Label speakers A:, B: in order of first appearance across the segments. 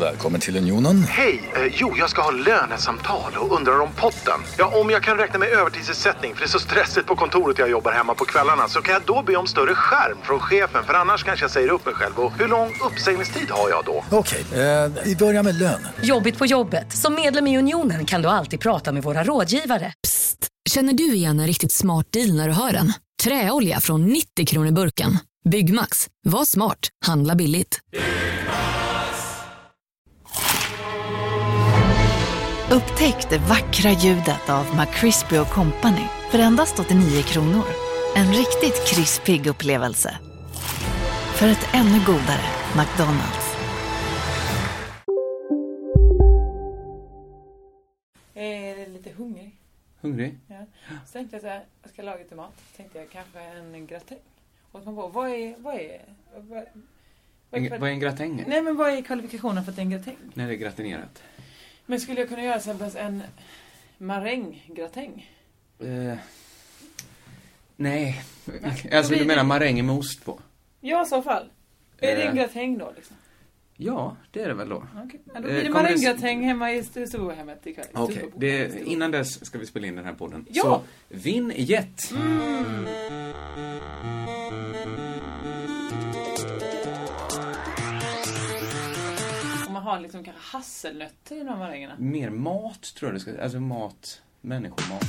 A: Välkommen till Unionen.
B: Hej! Eh, jo, jag ska ha lönesamtal och undrar om potten. Ja, om jag kan räkna med övertidsersättning för det är så stressigt på kontoret jag jobbar hemma på kvällarna så kan jag då be om större skärm från chefen för annars kanske jag säger upp mig själv. Och hur lång uppsägningstid har jag då?
A: Okej, eh, vi börjar med lön.
C: Jobbigt på jobbet. Som medlem i Unionen kan du alltid prata med våra rådgivare.
D: Psst! Känner du igen en riktigt smart deal när du hör den? Träolja från 90 kronor burken. Byggmax. Var smart. Handla billigt.
E: Upptäck det vackra ljudet av McCrispy Company för endast 89 kronor. En riktigt krispig upplevelse. För ett ännu godare McDonalds.
F: Jag är Eh, lite hungrig.
G: Hungrig?
F: Ja. Så tänkte jag så här, jag ska laga till mat. Så tänkte jag kanske en gratäng. Och så kom jag på, vad är, vad är, vad, vad
G: En,
F: är,
G: vad är en gratäng? Nej.
F: Nej men vad är kvalifikationen för att det är en gratäng?
G: det är gratinerat.
F: Men skulle jag kunna göra exempelvis en maränggratäng?
G: Eh, nej. Alltså
F: blir
G: du menar
F: det-
G: maräng med ost på?
F: Ja i så fall. Är det en
G: Eh.
F: gratäng då liksom?
G: Ja, det är det väl då.
F: Okej. Ja, då
G: Eh,
F: blir det
G: kommer det-
F: maränggratäng hemma i stu- Storbohemmet ikväll.
G: Okej,
F: Storbo-
G: det-
F: Storbo-
G: innan dess ska vi spela in den här podden.
F: Ja! Mm.
G: Så, vinn jet!
F: Om man har liksom kanske hasselnötter i de här marängerna.
G: Mer mat, tror jag det ska Alltså mat, människomat.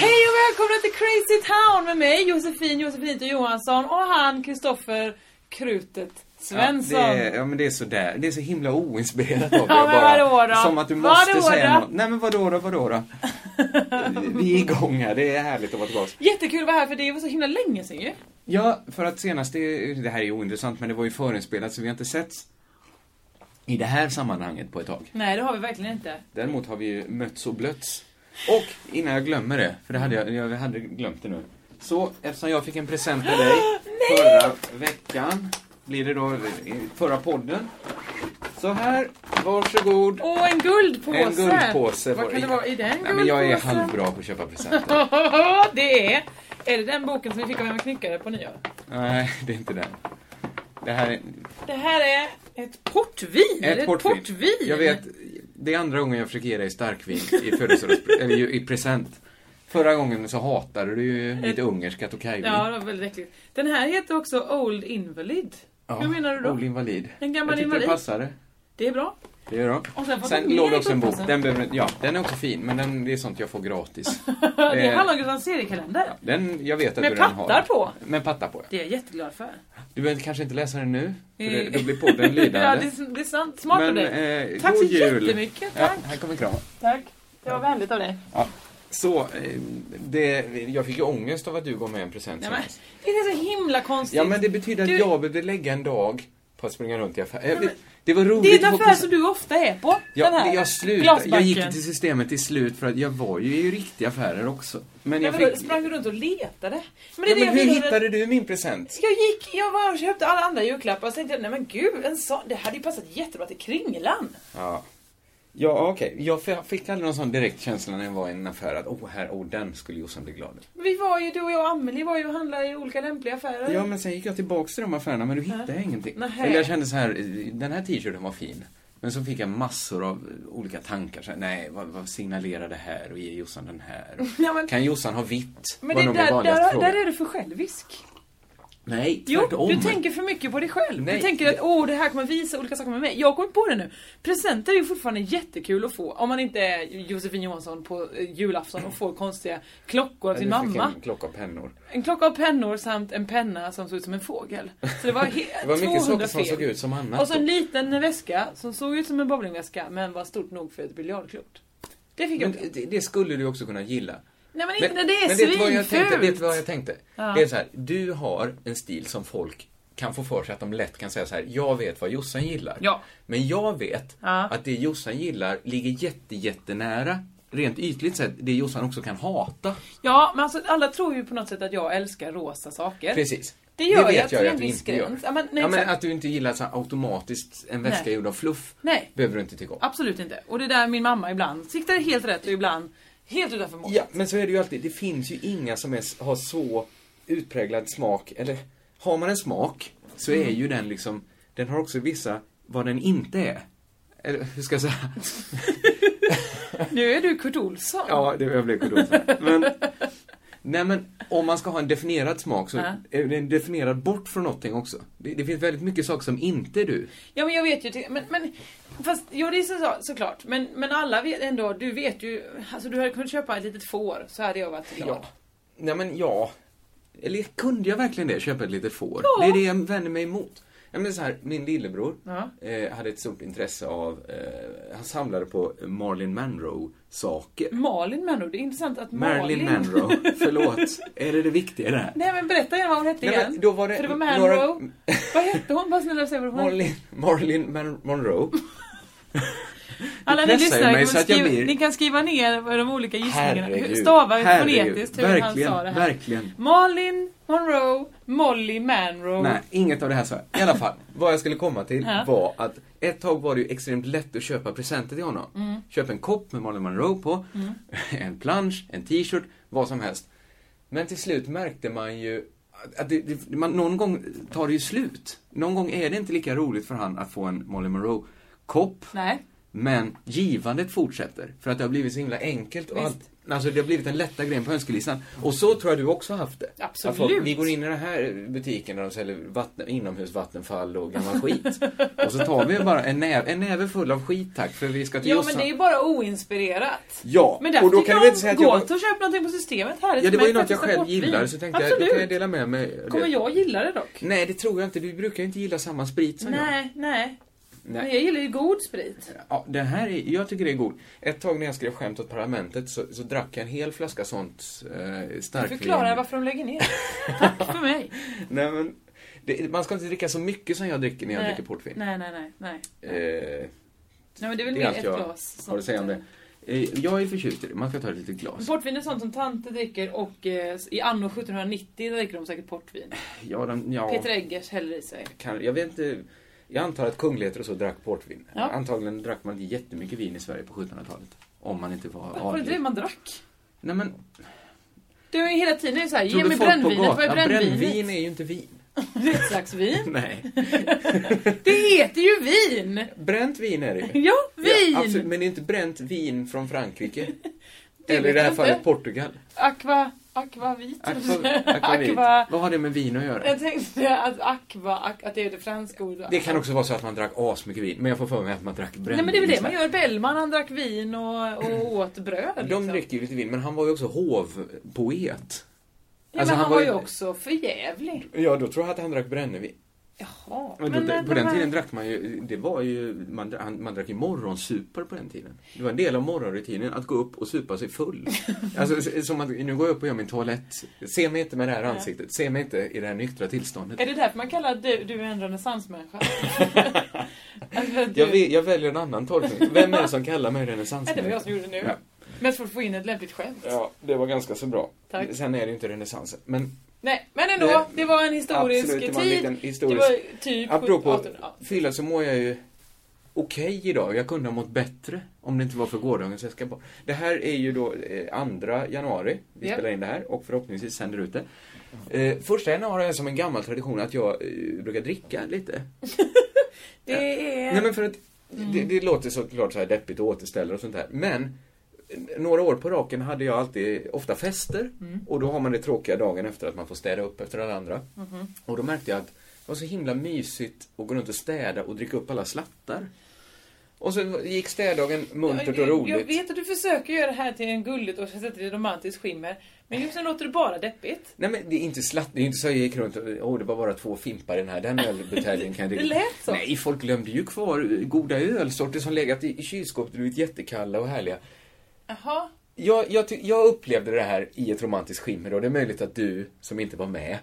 F: Hej och välkomna till Crazy Town med mig Josefin Josefinito Johansson och han Kristoffer Krutet Svensson.
G: Ja, det är, ja men det är sådär. Det är så himla oinspirerat av dig
F: Ja, men vadå då?
G: Som att du måste
F: Vadå
G: säga
F: då?
G: något. Nej men vadå då, vadå då? Vi är igång här, det är härligt att vara tillbaka.
F: Jättekul att vara här för det var så himla länge sedan ju.
G: Ja, för att senast, det, det här är ju ointressant men det var ju förinspelat så vi har inte setts i det här sammanhanget på ett tag.
F: Nej det har vi verkligen inte.
G: Däremot har vi ju mötts och blötts. Och innan jag glömmer det, för det hade jag, jag hade glömt det nu. Så, eftersom jag fick en present av dig förra veckan, blir det då i förra podden. Så här, varsågod.
F: Och en guldpåse.
G: En guldpåse
F: Vad
G: var
F: kan det
G: i.
F: vara i den
G: Nej men jag är
F: guldpåsen?
G: halvbra på att köpa presenter.
F: det är... Är det den boken som vi fick av Emma Knyckare på nyår?
G: Nej, det är inte den. Det här är
F: Det här är ett portvin.
G: Ett portvin.
F: portvin.
G: Jag vet, det är andra gången jag försöker ge dig starkvin i födelsedags- eller ju- i present. Förra gången så hatade du ju mitt ungerska tokajvin.
F: Ja det var väldigt äckligt. Den här heter också Old Invalid.
G: Ja,
F: Hur menar du då?
G: Old invalid.
F: En gammal
G: jag tyckte
F: invalid.
G: det passade.
F: Det är bra.
G: Det gör de.
F: Och sen får du
G: Sen
F: mer
G: låg
F: i
G: det också en bok.
F: pulsen.
G: Den, behöver, ja, den är också fin, men den, det är sånt jag får gratis.
F: Det
G: Eh,
F: handlar om Gustav Seriekalender.
G: Den, jag vet att
F: Med
G: du redan har.
F: pattar på.
G: Med pattar på, ja.
F: Det är jag jätteglad för.
G: Du behöver kanske inte läsa den nu, för det,
F: Eh.
G: då blir podden
F: ja,
G: lidande.
F: det, är, det är sant. Smart
G: men,
F: av dig.
G: eh,
F: Tack
G: god
F: så
G: jul.
F: jättemycket.
G: Ja,
F: Tack.
G: här kommer kramen.
F: Tack. Det var vänligt av dig.
G: Så, eh, det, jag fick ju ångest av att du gav mig en present
F: Nej, men,
G: senast.
F: det är så himla konstigt.
G: Ja men det betyder att
F: Du-
G: jag behövde lägga en dag på att springa runt i affären. Det, det var roligt.
F: Det är en
G: att få
F: affär
G: present.
F: som du ofta är på.
G: Ja,
F: den här
G: det- jag slutade.
F: glasbanken.
G: Jag gick till systemet till slut för att jag var ju i riktiga affärer också. Men
F: Nej,
G: jag
F: men
G: fick...
F: då sprang du runt och letade? Men
G: ja,
F: det är det
G: men
F: jag
G: hur
F: menar.
G: hittade du min present?
F: Jag gick, jag var och köpte alla andra julklappar och så tänkte jag, nej men gud, en sån, det hade ju passat jättebra till kringlan.
G: Ja. Ja, okej. Jag f- fick aldrig någon sån direkt känsla när jag var i en affär att åh, här, åh, den skulle Jossan bli glad över.
F: Vi var ju, du och jag och Amelie var ju och handlade i olika lämpliga affärer.
G: Ja, men sen gick jag tillbaks till de affärerna men du hittade ingenting.
F: Nähä.
G: Eller jag kände så här, den här t-shirten var fin. Men så fick jag massor av olika tankar. Så här, nej, vad, vad signalerar det här och ger Jossan den här?
F: Ja, men-
G: Kan Jossan ha vitt?
F: Men
G: Var
F: det,
G: nog min
F: där,
G: vanligaste
F: där,
G: fråga.
F: där är du för självisk.
G: Nej,
F: Jo,
G: tvärtom.
F: du tänker för mycket på dig själv. Du
G: Nej.
F: tänker att åh, det här kommer visa olika saker med mig. Jag kommer på det nu. Presenter är ju fortfarande jättekul att få om man inte är Josefin Johansson på eh, julafton och får konstiga klockor av sin
G: Jag fick
F: mamma.
G: en klocka och pennor.
F: En klocka av pennor samt en penna som såg ut som en fågel. Så det var, he-
G: Det var mycket
F: 200
G: saker som
F: fel.
G: såg ut som annat.
F: Och så en liten väska som såg ut som en bowlingväska men var stort nog för ett biljardklot. Det fick
G: men
F: jag.
G: det, det skulle du också kunna gilla.
F: Nej men inte när det är
G: men vet du vad jag tänkte? Vet du
F: svinfult!
G: vad jag tänkte? Det är så här, du har en stil som folk kan få för sig att de lätt kan säga så här, jag vet vad Jossan gillar.
F: Ja.
G: Men jag vet
F: Ja.
G: att det Jossan gillar ligger jätte, jättenära, rent ytligt sett, det Jossan också kan hata.
F: Ja, men alltså alla tror ju på något sätt att jag älskar rosa saker.
G: Precis.
F: Det gör jag
G: vet
F: till
G: jag ju
F: en
G: att du
F: viss
G: inte gör.
F: gräns. Ja, men nej,
G: ja, men
F: exakt.
G: att du inte gillar så här automatiskt en väska
F: Nej.
G: gjord av fluff,
F: Nej.
G: behöver du inte tycka om.
F: Absolut inte. Och det är där min mamma ibland siktar helt rätt och ibland Helt utanför målet.
G: Ja, men så är det ju alltid. Det finns ju inga som är, har så utpräglad smak. Eller, har man en smak så är ju den liksom, den har också vissa vad den inte är. Eller hur ska jag säga?
F: Nu är du Kurt Olsson.
G: Ja, det jag blev Kurt Men, nej men, om man ska ha en definierad smak så
F: Ja.
G: är den definierad bort från någonting också. Det, det finns väldigt mycket saker som inte är du.
F: Ja men jag vet ju, till- men, men fast, jo det är så, såklart. Men, men alla vet ändå, du vet ju, alltså du hade kunnat köpa ett litet får så hade jag varit glad.
G: Ja. Nej men ja. Eller kunde jag verkligen det? Köpa ett litet får? Det är det jag vänder mig emot. Jag menar så här, min lillebror
F: Ja.
G: eh, hade ett stort intresse av, eh, han samlade på Marlin Monroe-saker.
F: Malin Manro, det är intressant att
G: Marilyn
F: Malin...
G: Monroe, förlåt. Är det det viktiga det här?
F: Nej men berätta gärna vad hon hette
G: Nej, men
F: igen.
G: då var det
F: För det var
G: några-
F: Manro. Vad hette hon? Bara snälla säg vad hon hette.
G: Marlin, Marlin Man- Monroe.
F: Alla ni
G: pressar ju
F: lyssnare,
G: mig
F: kan
G: så att jag
F: skriva,
G: blir-
F: ni kan skriva ner vad de olika gissningarna. Hur
G: Herregud.
F: stavar
G: Herregud.
F: fonetiskt hur han
G: Verkligen,
F: sa det här.
G: verkligen.
F: Malin Monroe, Molly Manro.
G: Nej, inget av det här så här. I alla fall, vad jag skulle komma till
F: Ja.
G: var att ett tag var det ju extremt lätt att köpa presenter till honom. Köp en kopp med Marilyn Monroe på, en plansch, en t-shirt, vad som helst. Men till slut märkte man ju att- att det, det, man, någon gång tar det ju slut. Någon gång är det inte lika roligt för han att få en Marilyn Monroe-kopp.
F: Nej.
G: Men givandet fortsätter, för att det har blivit så himla enkelt och
F: Visst.
G: allt. Alltså det har blivit den lätta grejen på önskelistan. Och så tror jag du också har haft det.
F: Absolut.
G: Att folk, vi går in i den här butiken där de säljer vatten, inomhusvattenfall och gammal skit. och så tar vi bara en näve, en näve full av skit tack, för vi ska till
F: Ja men
G: Jossan.
F: det är ju bara oinspirerat.
G: Ja,
F: Men
G: och
F: därför
G: då
F: tycker
G: kan
F: jag
G: du väl inte säga att jag...
F: gott att köpa någonting på systemet här.
G: Ja, det var ju
F: Men
G: något jag
F: faktiskt
G: själv
F: gott vin.
G: gillade, så tänkte jag,
F: Absolut.
G: då kan jag dela Mm. med mig.
F: Kommer jag gilla det dock?
G: Nej, det tror jag inte. Du brukar ju inte gilla samma sprit som jag.
F: Nej, nej.
G: Nej.
F: Men jag gillar ju god sprit.
G: Ja, den här är, jag tycker det är god. Ett tag när jag skrev skämt åt Parlamentet så, så drack jag en hel flaska sånt eh, starkvin.
F: Förklara varför de lägger ner. Tack för mig.
G: Nej, men, det, man ska inte dricka så mycket som jag dricker när jag
F: Nej.
G: dricker portvin.
F: Nej, nej, nej. nej.
G: Eh,
F: nej men det är väl
G: det
F: mer
G: är allt
F: ett
G: jag
F: glas.
G: har att säga om det.
F: sånt.
G: Eh, jag är förtjust i det. Man ska ta ett litet glas.
F: Portvin är sånt som tanter dricker och eh, i anno 1790 dricker de säkert portvin.
G: Ja, de, ja,
F: Peter Eggers häller i sig.
G: kan, jag vet inte. Jag antar att kungligheter och så drack portvin.
F: Ja.
G: Antagligen drack man inte jättemycket vin i Sverige på 1700-talet. Om man inte var
F: Var det inte det
G: adlig.
F: man drack?
G: Nej, men
F: Det är ju hela tiden är det så här, ge
G: trodde
F: mig
G: folk på
F: brännvinet, vad
G: gatan...
F: är brännvinet?
G: Brännvin är ju inte vin.
F: Det är ett slags vin.
G: Nej.
F: Det heter ju vin!
G: Bränt vin är det ju.
F: Ja, vin!
G: Ja, absolut, men det är inte bränt vin från Frankrike.
F: Det
G: Eller i
F: vet
G: det här
F: jag
G: fallet
F: inte.
G: Portugal.
F: Aqua... Aquavit?
G: Aqua, aquavit.
F: aqua
G: Vad har det med vin att göra?
F: jag tänkte att aqua, ak- att det är det franska ordet.
G: Det kan också vara så att man drack asmycket vin, men jag får för mig att man drack brännvin.
F: Nej men det är väl
G: i
F: det man
G: Sverige.
F: gör. Bellman han drack vin och, och åt bröd. liksom.
G: De dricker ju lite vin, men han var ju också hovpoet.
F: ja,
G: alltså,
F: men
G: han
F: han
G: var
F: var
G: ju-
F: ju också förjävlig.
G: Ja, då tror jag att han drack brännvin.
F: Jaha.
G: Men då,
F: när
G: på
F: de
G: den
F: här-
G: tiden drack man ju, det var ju, man, dra- han, man drack ju morgonsuper på den tiden. Det var en del av morgonrutinen att gå upp och supa sig full. alltså, s- som att, nu går jag upp och gör min toalett. Se mig inte med det här ansiktet, se mig inte i det här nyktra tillståndet.
F: Är det därför man kallar du, du en renässansmänniska? alltså, för att du...
G: Jag, ve- jag väljer en annan tolkning. Vem är det som kallar mig renässansmänniska?
F: Nej, det var jag som gjorde det nu.
G: Ja.
F: Mest för att få in ett lämpligt skämt.
G: Ja, det var ganska så bra.
F: Tack.
G: Sen är det ju inte renässansen. Men
F: Nej, men ändå.
G: Det-
F: Det, var en historisk
G: absolut, det var en
F: tid.
G: liten historisk-
F: Det var typ
G: apropå
F: 1718. Ja.
G: fylla så mår jag ju okej idag. Jag kunde ha mått bättre om det inte var för gårdagens jag ska bara. Det här är ju då eh, andra januari. Vi
F: Ja.
G: spelar in det här och förhoppningsvis sänder ut det. Eh, första januari är som en gammal tradition att jag eh, brukar dricka lite. Eh,
F: Det är... Mm.
G: Nej men för att det, det låter såklart så här deppigt och återställer och sånt där. Men eh, några år på raken hade jag alltid ofta fester
F: Mm.
G: och då har man det tråkiga dagen efter att man får städa upp efter alla andra.
F: Mm-hmm.
G: Och då märkte jag att det var så himla mysigt att gå runt och städa och dricka upp alla slattar. Och så gick städdagen muntert och
F: Jag- Jag
G: roligt.
F: vet att du försöker göra det här till en gulligt och sätta till ett romantiskt skimmer. Men just nu låter det bara deppigt.
G: Nej men det är inte slatt, det är inte så jag gick runt och, åh det var bara två fimpar i den här, den ölbuteljen kan jag dricka.
F: Det lät så.
G: Nej, folk glömde ju kvar eh, goda ölsorter som legat i i kylskåpet och blivit jättekalla och härliga.
F: Jaha.
G: Jag, jag, ty- jag upplevde det här i ett romantiskt skimmer och det är möjligt att du som inte var med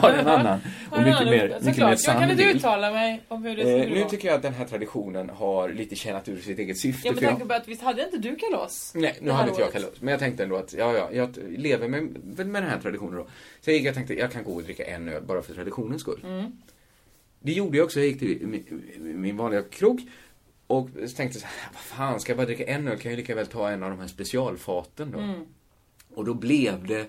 G: har en annan och
F: Har du
G: mycket
F: någon
G: mer, mycket
F: annan- Såklart,
G: mer
F: jag kan
G: sann
F: inte
G: bild.
F: uttala mig om hur det
G: Eh,
F: skulle
G: nu
F: vara.
G: tycker jag att den här traditionen har lite tjänat ur sitt eget syfte.
F: Ja, med
G: för jag-
F: tanke på att visst hade inte du kalas?
G: Nej, nu
F: det här
G: hade inte jag
F: året?
G: kalas. Men jag tänkte ändå att, ja, ja, jag t- lever med, väl med den här traditionen då. Så jag gick och tänkte, jag kan gå och dricka en öl bara
F: Mm.
G: för traditionens skull. Det gjorde jag också. Jag gick till min, min vanliga krog. Och så tänkte jag så här, vad fan, ska jag bara dricka en öl kan jag ju lika väl ta en av de här specialfaten då.
F: Mm.
G: Och då blev det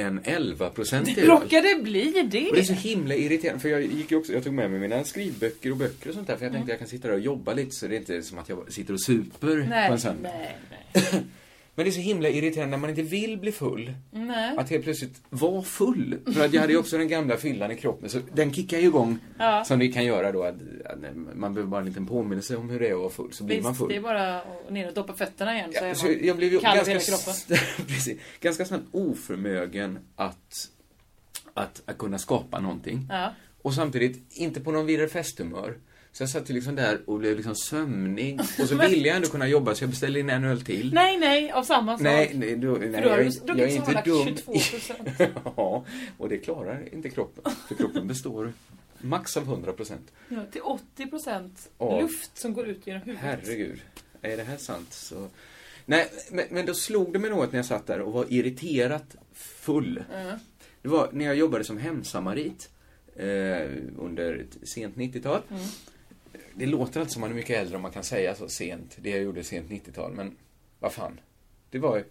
G: en 11-procentig öl.
F: Råkade bli
G: Och det är så
F: det?
G: himla irriterande, för jag gick ju också, jag tog med mig mina skrivböcker och böcker och sånt där, för jag
F: Mm.
G: tänkte jag kan sitta där och jobba lite så det är inte som att jag sitter och super på en
F: Nej,
G: söndag.
F: nej, nej.
G: Men det är så himla irriterande när man inte vill bli full.
F: Nej.
G: Att helt plötsligt vara full. För att jag hade ju också den gamla fyllan i kroppen, så den kickar ju igång. Som det kan göra då att, att man behöver bara en liten påminnelse om hur det är att vara full, så blir man
F: Visst,
G: full.
F: det är bara att ner och doppa fötterna igen så är
G: Ja,
F: man
G: så jag blev ju
F: kall över
G: ganska,
F: hela kroppen.
G: s- precis, ganska snabbt oförmögen att, att, att kunna skapa någonting.
F: Ja.
G: Och samtidigt inte på någon vidare festhumör. Så jag satt ju liksom där och blev liksom sömnig. Och så ville jag ändå kunna jobba så jag beställde in en öl till.
F: Nej, nej, av samma sak.
G: Nej, nej, då, nej
F: då liksom har
G: jag,
F: du
G: är-
F: druckit
G: jag är inte
F: sammanlagt
G: dum.
F: 22%.
G: ja, och det klarar inte kroppen. För kroppen består max av 100%.
F: Ja, till 80%
G: Ja.
F: luft som går ut genom huvudet.
G: Herregud. Är det här sant så... Nej, men, men då slog det mig något när jag satt där och var irriterat full.
F: Mm.
G: Det var när jag jobbade som hemsamarit eh, under ett sent 90-tal.
F: Mm.
G: Det låter inte som man är mycket äldre om man kan säga så sent. Det jag gjorde sent 90-tal, men vad fan. Det var ju...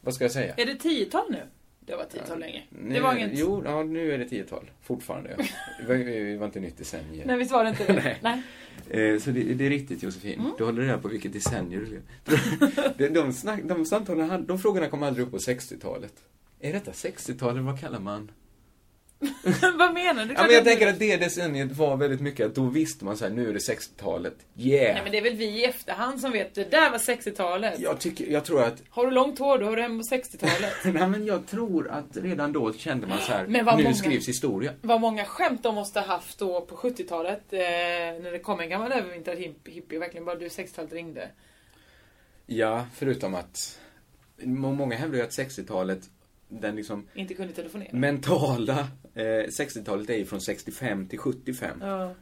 G: Vad ska jag säga?
F: Är det 10-tal nu? Det var 10-tal länge.
G: Nu,
F: det var inget...
G: Jo, ja, nu är det 10-tal. Fortfarande. det, var, det var inte nytt decennium.
F: Nej, visst var det inte det?
G: Nej. Eh, Så det, det är riktigt Josefin.
F: Mm.
G: Du håller reda på vilket decennium du lever. de, de, snack, de, samtalen, hade- de frågorna kom aldrig upp på 60-talet. Är detta 60-talet? Vad kallar man?
F: Vad menar du?
G: Ja, men jag tänker att det decenniet var väldigt mycket att då visste man så här, nu är det 60-talet. Yeah!
F: Nej, men det är väl vi i efterhand som vet. Det där var 60-talet.
G: Jag, tycker, jag tror att...
F: Har du långt hår, då har du hemma på 60-talet.
G: Nej, men jag tror att redan då kände man så här, nu
F: Men vad många-
G: skrivs historia.
F: Vad många skämt de måste ha haft då på 70-talet. Eh, när det kom en gammal övervintrad hip- hippie och verkligen bara du 60-talet ringde.
G: Ja, förutom att... må- Många hävdar ju att 60-talet, den liksom
F: Inte kunde telefonera.
G: mentala eh, 60-talet är ju från 65 till 75.
F: Ja.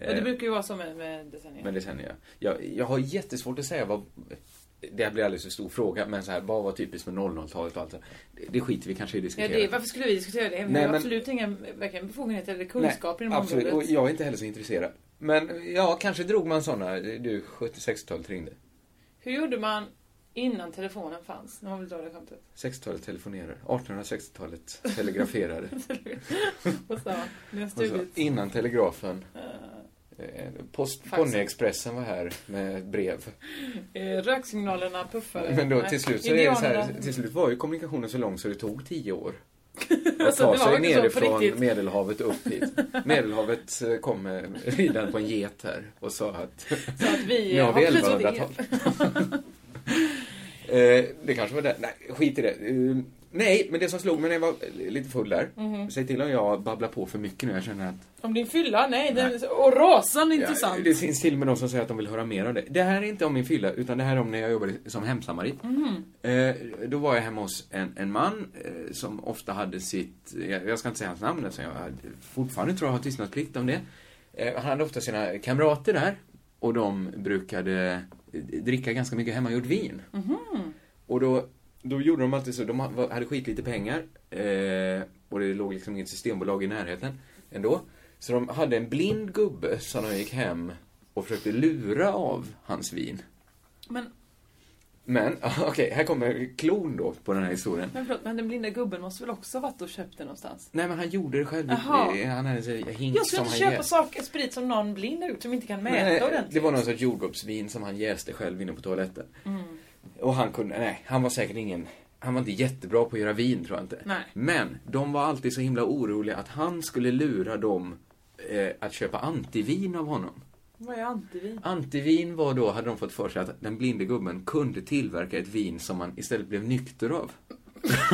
F: Men det brukar ju vara så med, med decennier.
G: Eh. Men det känner jag. jag. Jag har jättesvårt att säga vad... Det här blir alldeles för stor fråga, men så här, vad var typiskt med 00-talet och allt det här? Det- Det skiter vi kanske i att
F: Ja,
G: diskutera.
F: det, varför skulle vi diskutera det? Vi
G: Nej,
F: har
G: men-
F: absolut inga varken befogenheter eller kunskaper
G: Nej,
F: inom
G: absolut. Och
F: området.
G: jag är inte heller så intresserad. Men ja, kanske drog man sådana. Du, 70-60-talet ringde.
F: Hur gjorde man innan telefonen fanns? När man vill dra det skämtet.
G: 60-talet telefonerade. 1860-talet telegraferade.
F: Och så, nu har jag
G: Och så,
F: stulit.
G: innan telegrafen. eh, Post,
F: Faxen.
G: Ponyexpressen var här med brev.
F: Eh, Röksignalerna puffade.
G: Men då
F: Nej,
G: till slut så är det så här,
F: indianerna-
G: till slut var ju kommunikationen så lång så det tog tio år. Att
F: Alltså,
G: ta
F: det var
G: sig
F: verkligen så, på
G: nerifrån
F: riktigt.
G: Medelhavet upp hit. Medelhavet eh, kom eh, ridande på en get här och sa att
F: Så att vi
G: nu har vi
F: har plötsligt
G: 1100-tal.
F: inget.
G: Eh, det kanske var det. Nej, skit i det. Eh, Nej, men det som slog mig när jag var lite full där.
F: Mhm.
G: Säg till om jag babblar på för mycket nu. Jag känner att
F: Om din fylla? Nej, den, och rasan är
G: Ja,
F: intressant.
G: det finns till och med de som säger att de vill höra mer om det. Det här är inte om min fylla, utan det här är om när jag jobbade som hemsamarit. Eh, då var jag hemma hos en, en man eh, som ofta hade sitt, jag, jag ska inte säga hans namn eftersom jag hade- fortfarande tror jag har tystnadsplikt om det. Eh, han hade ofta sina kamrater där och de brukade eh, dricka ganska mycket hemmagjord vin. Och då, då gjorde de alltid så, de ha- hade skitlite pengar eh, och det låg liksom inget systembolag i närheten ändå. Så de hade en blind gubbe som de gick hem och försökte lura av hans vin.
F: Men,
G: Men, okej, här kommer klon då på den här historien.
F: men förlåt, men den blinda gubben måste väl också ha varit och köpt det någonstans?
G: Nej men han gjorde det själv.
F: Jaha.
G: Eh, Han hade en sån här hink
F: Jag skulle
G: Mm, som
F: inte
G: han
F: köpa
G: jäste.
F: saker, sprit som någon blind har gjort som inte kan mäta
G: Nej,
F: ordentligt.
G: eh, Det var någon sorts jordgubbsvin som han jäste själv inne på toaletten.
F: Mm.
G: Och han kunde, nej, han var säkert ingen, han var inte jättebra på att göra vin tror jag inte.
F: Nej.
G: Men de var alltid så himla oroliga att han skulle lura dem eh, att köpa antivin av honom.
F: Vad är antivin?
G: Antivin var då, hade de fått för sig, att den blinde gubben kunde tillverka ett vin som man istället blev nykter av.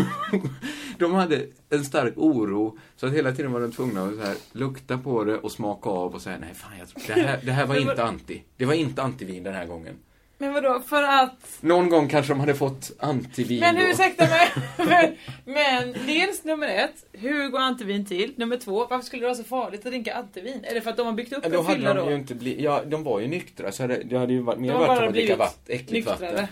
G: de hade en stark oro, så att hela tiden var de tvungna att så här, lukta på det och smaka av och säga nej fan, jag tror, det, här, det här var inte anti. Det var inte antivin den här gången.
F: Men vadå, för att...
G: Någon gång kanske de hade fått antivin
F: Men
G: då.
F: hur, ursäkta mig. men, men dels nummer ett, hur går antivin till? Nummer två, varför skulle det vara så farligt att dricka antivin? Är det för att de har byggt upp
G: Ja, Då
F: en fylla
G: hade
F: då?
G: de ju inte blivit, ja de var ju nyktra så hade, det hade ju varit
F: de
G: mer
F: har
G: varit som
F: bara
G: att dricka
F: blivit
G: vatt, äckligt vatten.
F: nyktrare.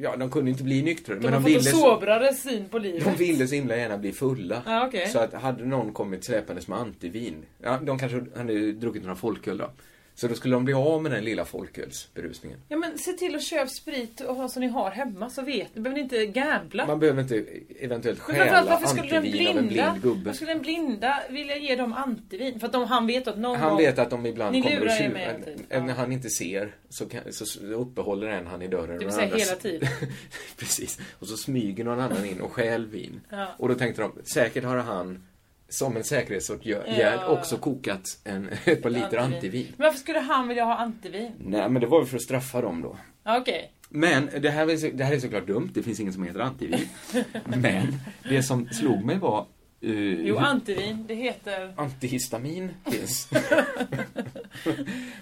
G: Ja, de kunde inte bli nyktrare
F: De
G: men
F: har
G: de
F: fått en
G: ville så-
F: sobrare syn på livet.
G: De ville så himla gärna bli fulla.
F: Ja, okej.
G: Så att hade någon kommit släpandes med antivin, ja, de kanske hade druckit några folköl då. Så då skulle de bli av med den lilla folkölsberusningen.
F: Ja men se till att köpa sprit och ha som ni har hemma så vet ni. behöver ni inte gambla.
G: Man behöver inte eventuellt
F: Men framförallt
G: stjäla
F: varför skulle den
G: antivin av en
F: blinda,
G: blind gubbe.
F: varför skulle den blinda vilja ge dem antivin? För att de, han vet att någon
G: Han
F: gång-
G: vet att de ibland
F: Ni
G: kommer
F: lurar
G: och
F: er
G: tjuva.
F: med hela tiden.
G: Även när
F: Ja.
G: han inte ser så, kan, så s- uppehåller en han i dörren.
F: Det vill
G: och
F: säga
G: andra
F: hela
G: s-
F: tiden.
G: Precis. Och så smyger någon annan in och stjäl vin.
F: Ja.
G: Och då tänkte de, säkert har han som en säkerhetsåtgärd
F: Ja.
G: också kokat en, ett par liter
F: Antivin.
G: antivin.
F: Men varför skulle han vilja ha antivin?
G: Nej, men det var ju för att straffa dem då.
F: Ja, Okej.
G: Men det här, är så- det här är såklart dumt, det finns ingen som heter antivin. men det som slog mig var eh,
F: Jo,
G: hur-
F: antivin, det heter...
G: antihistamin finns.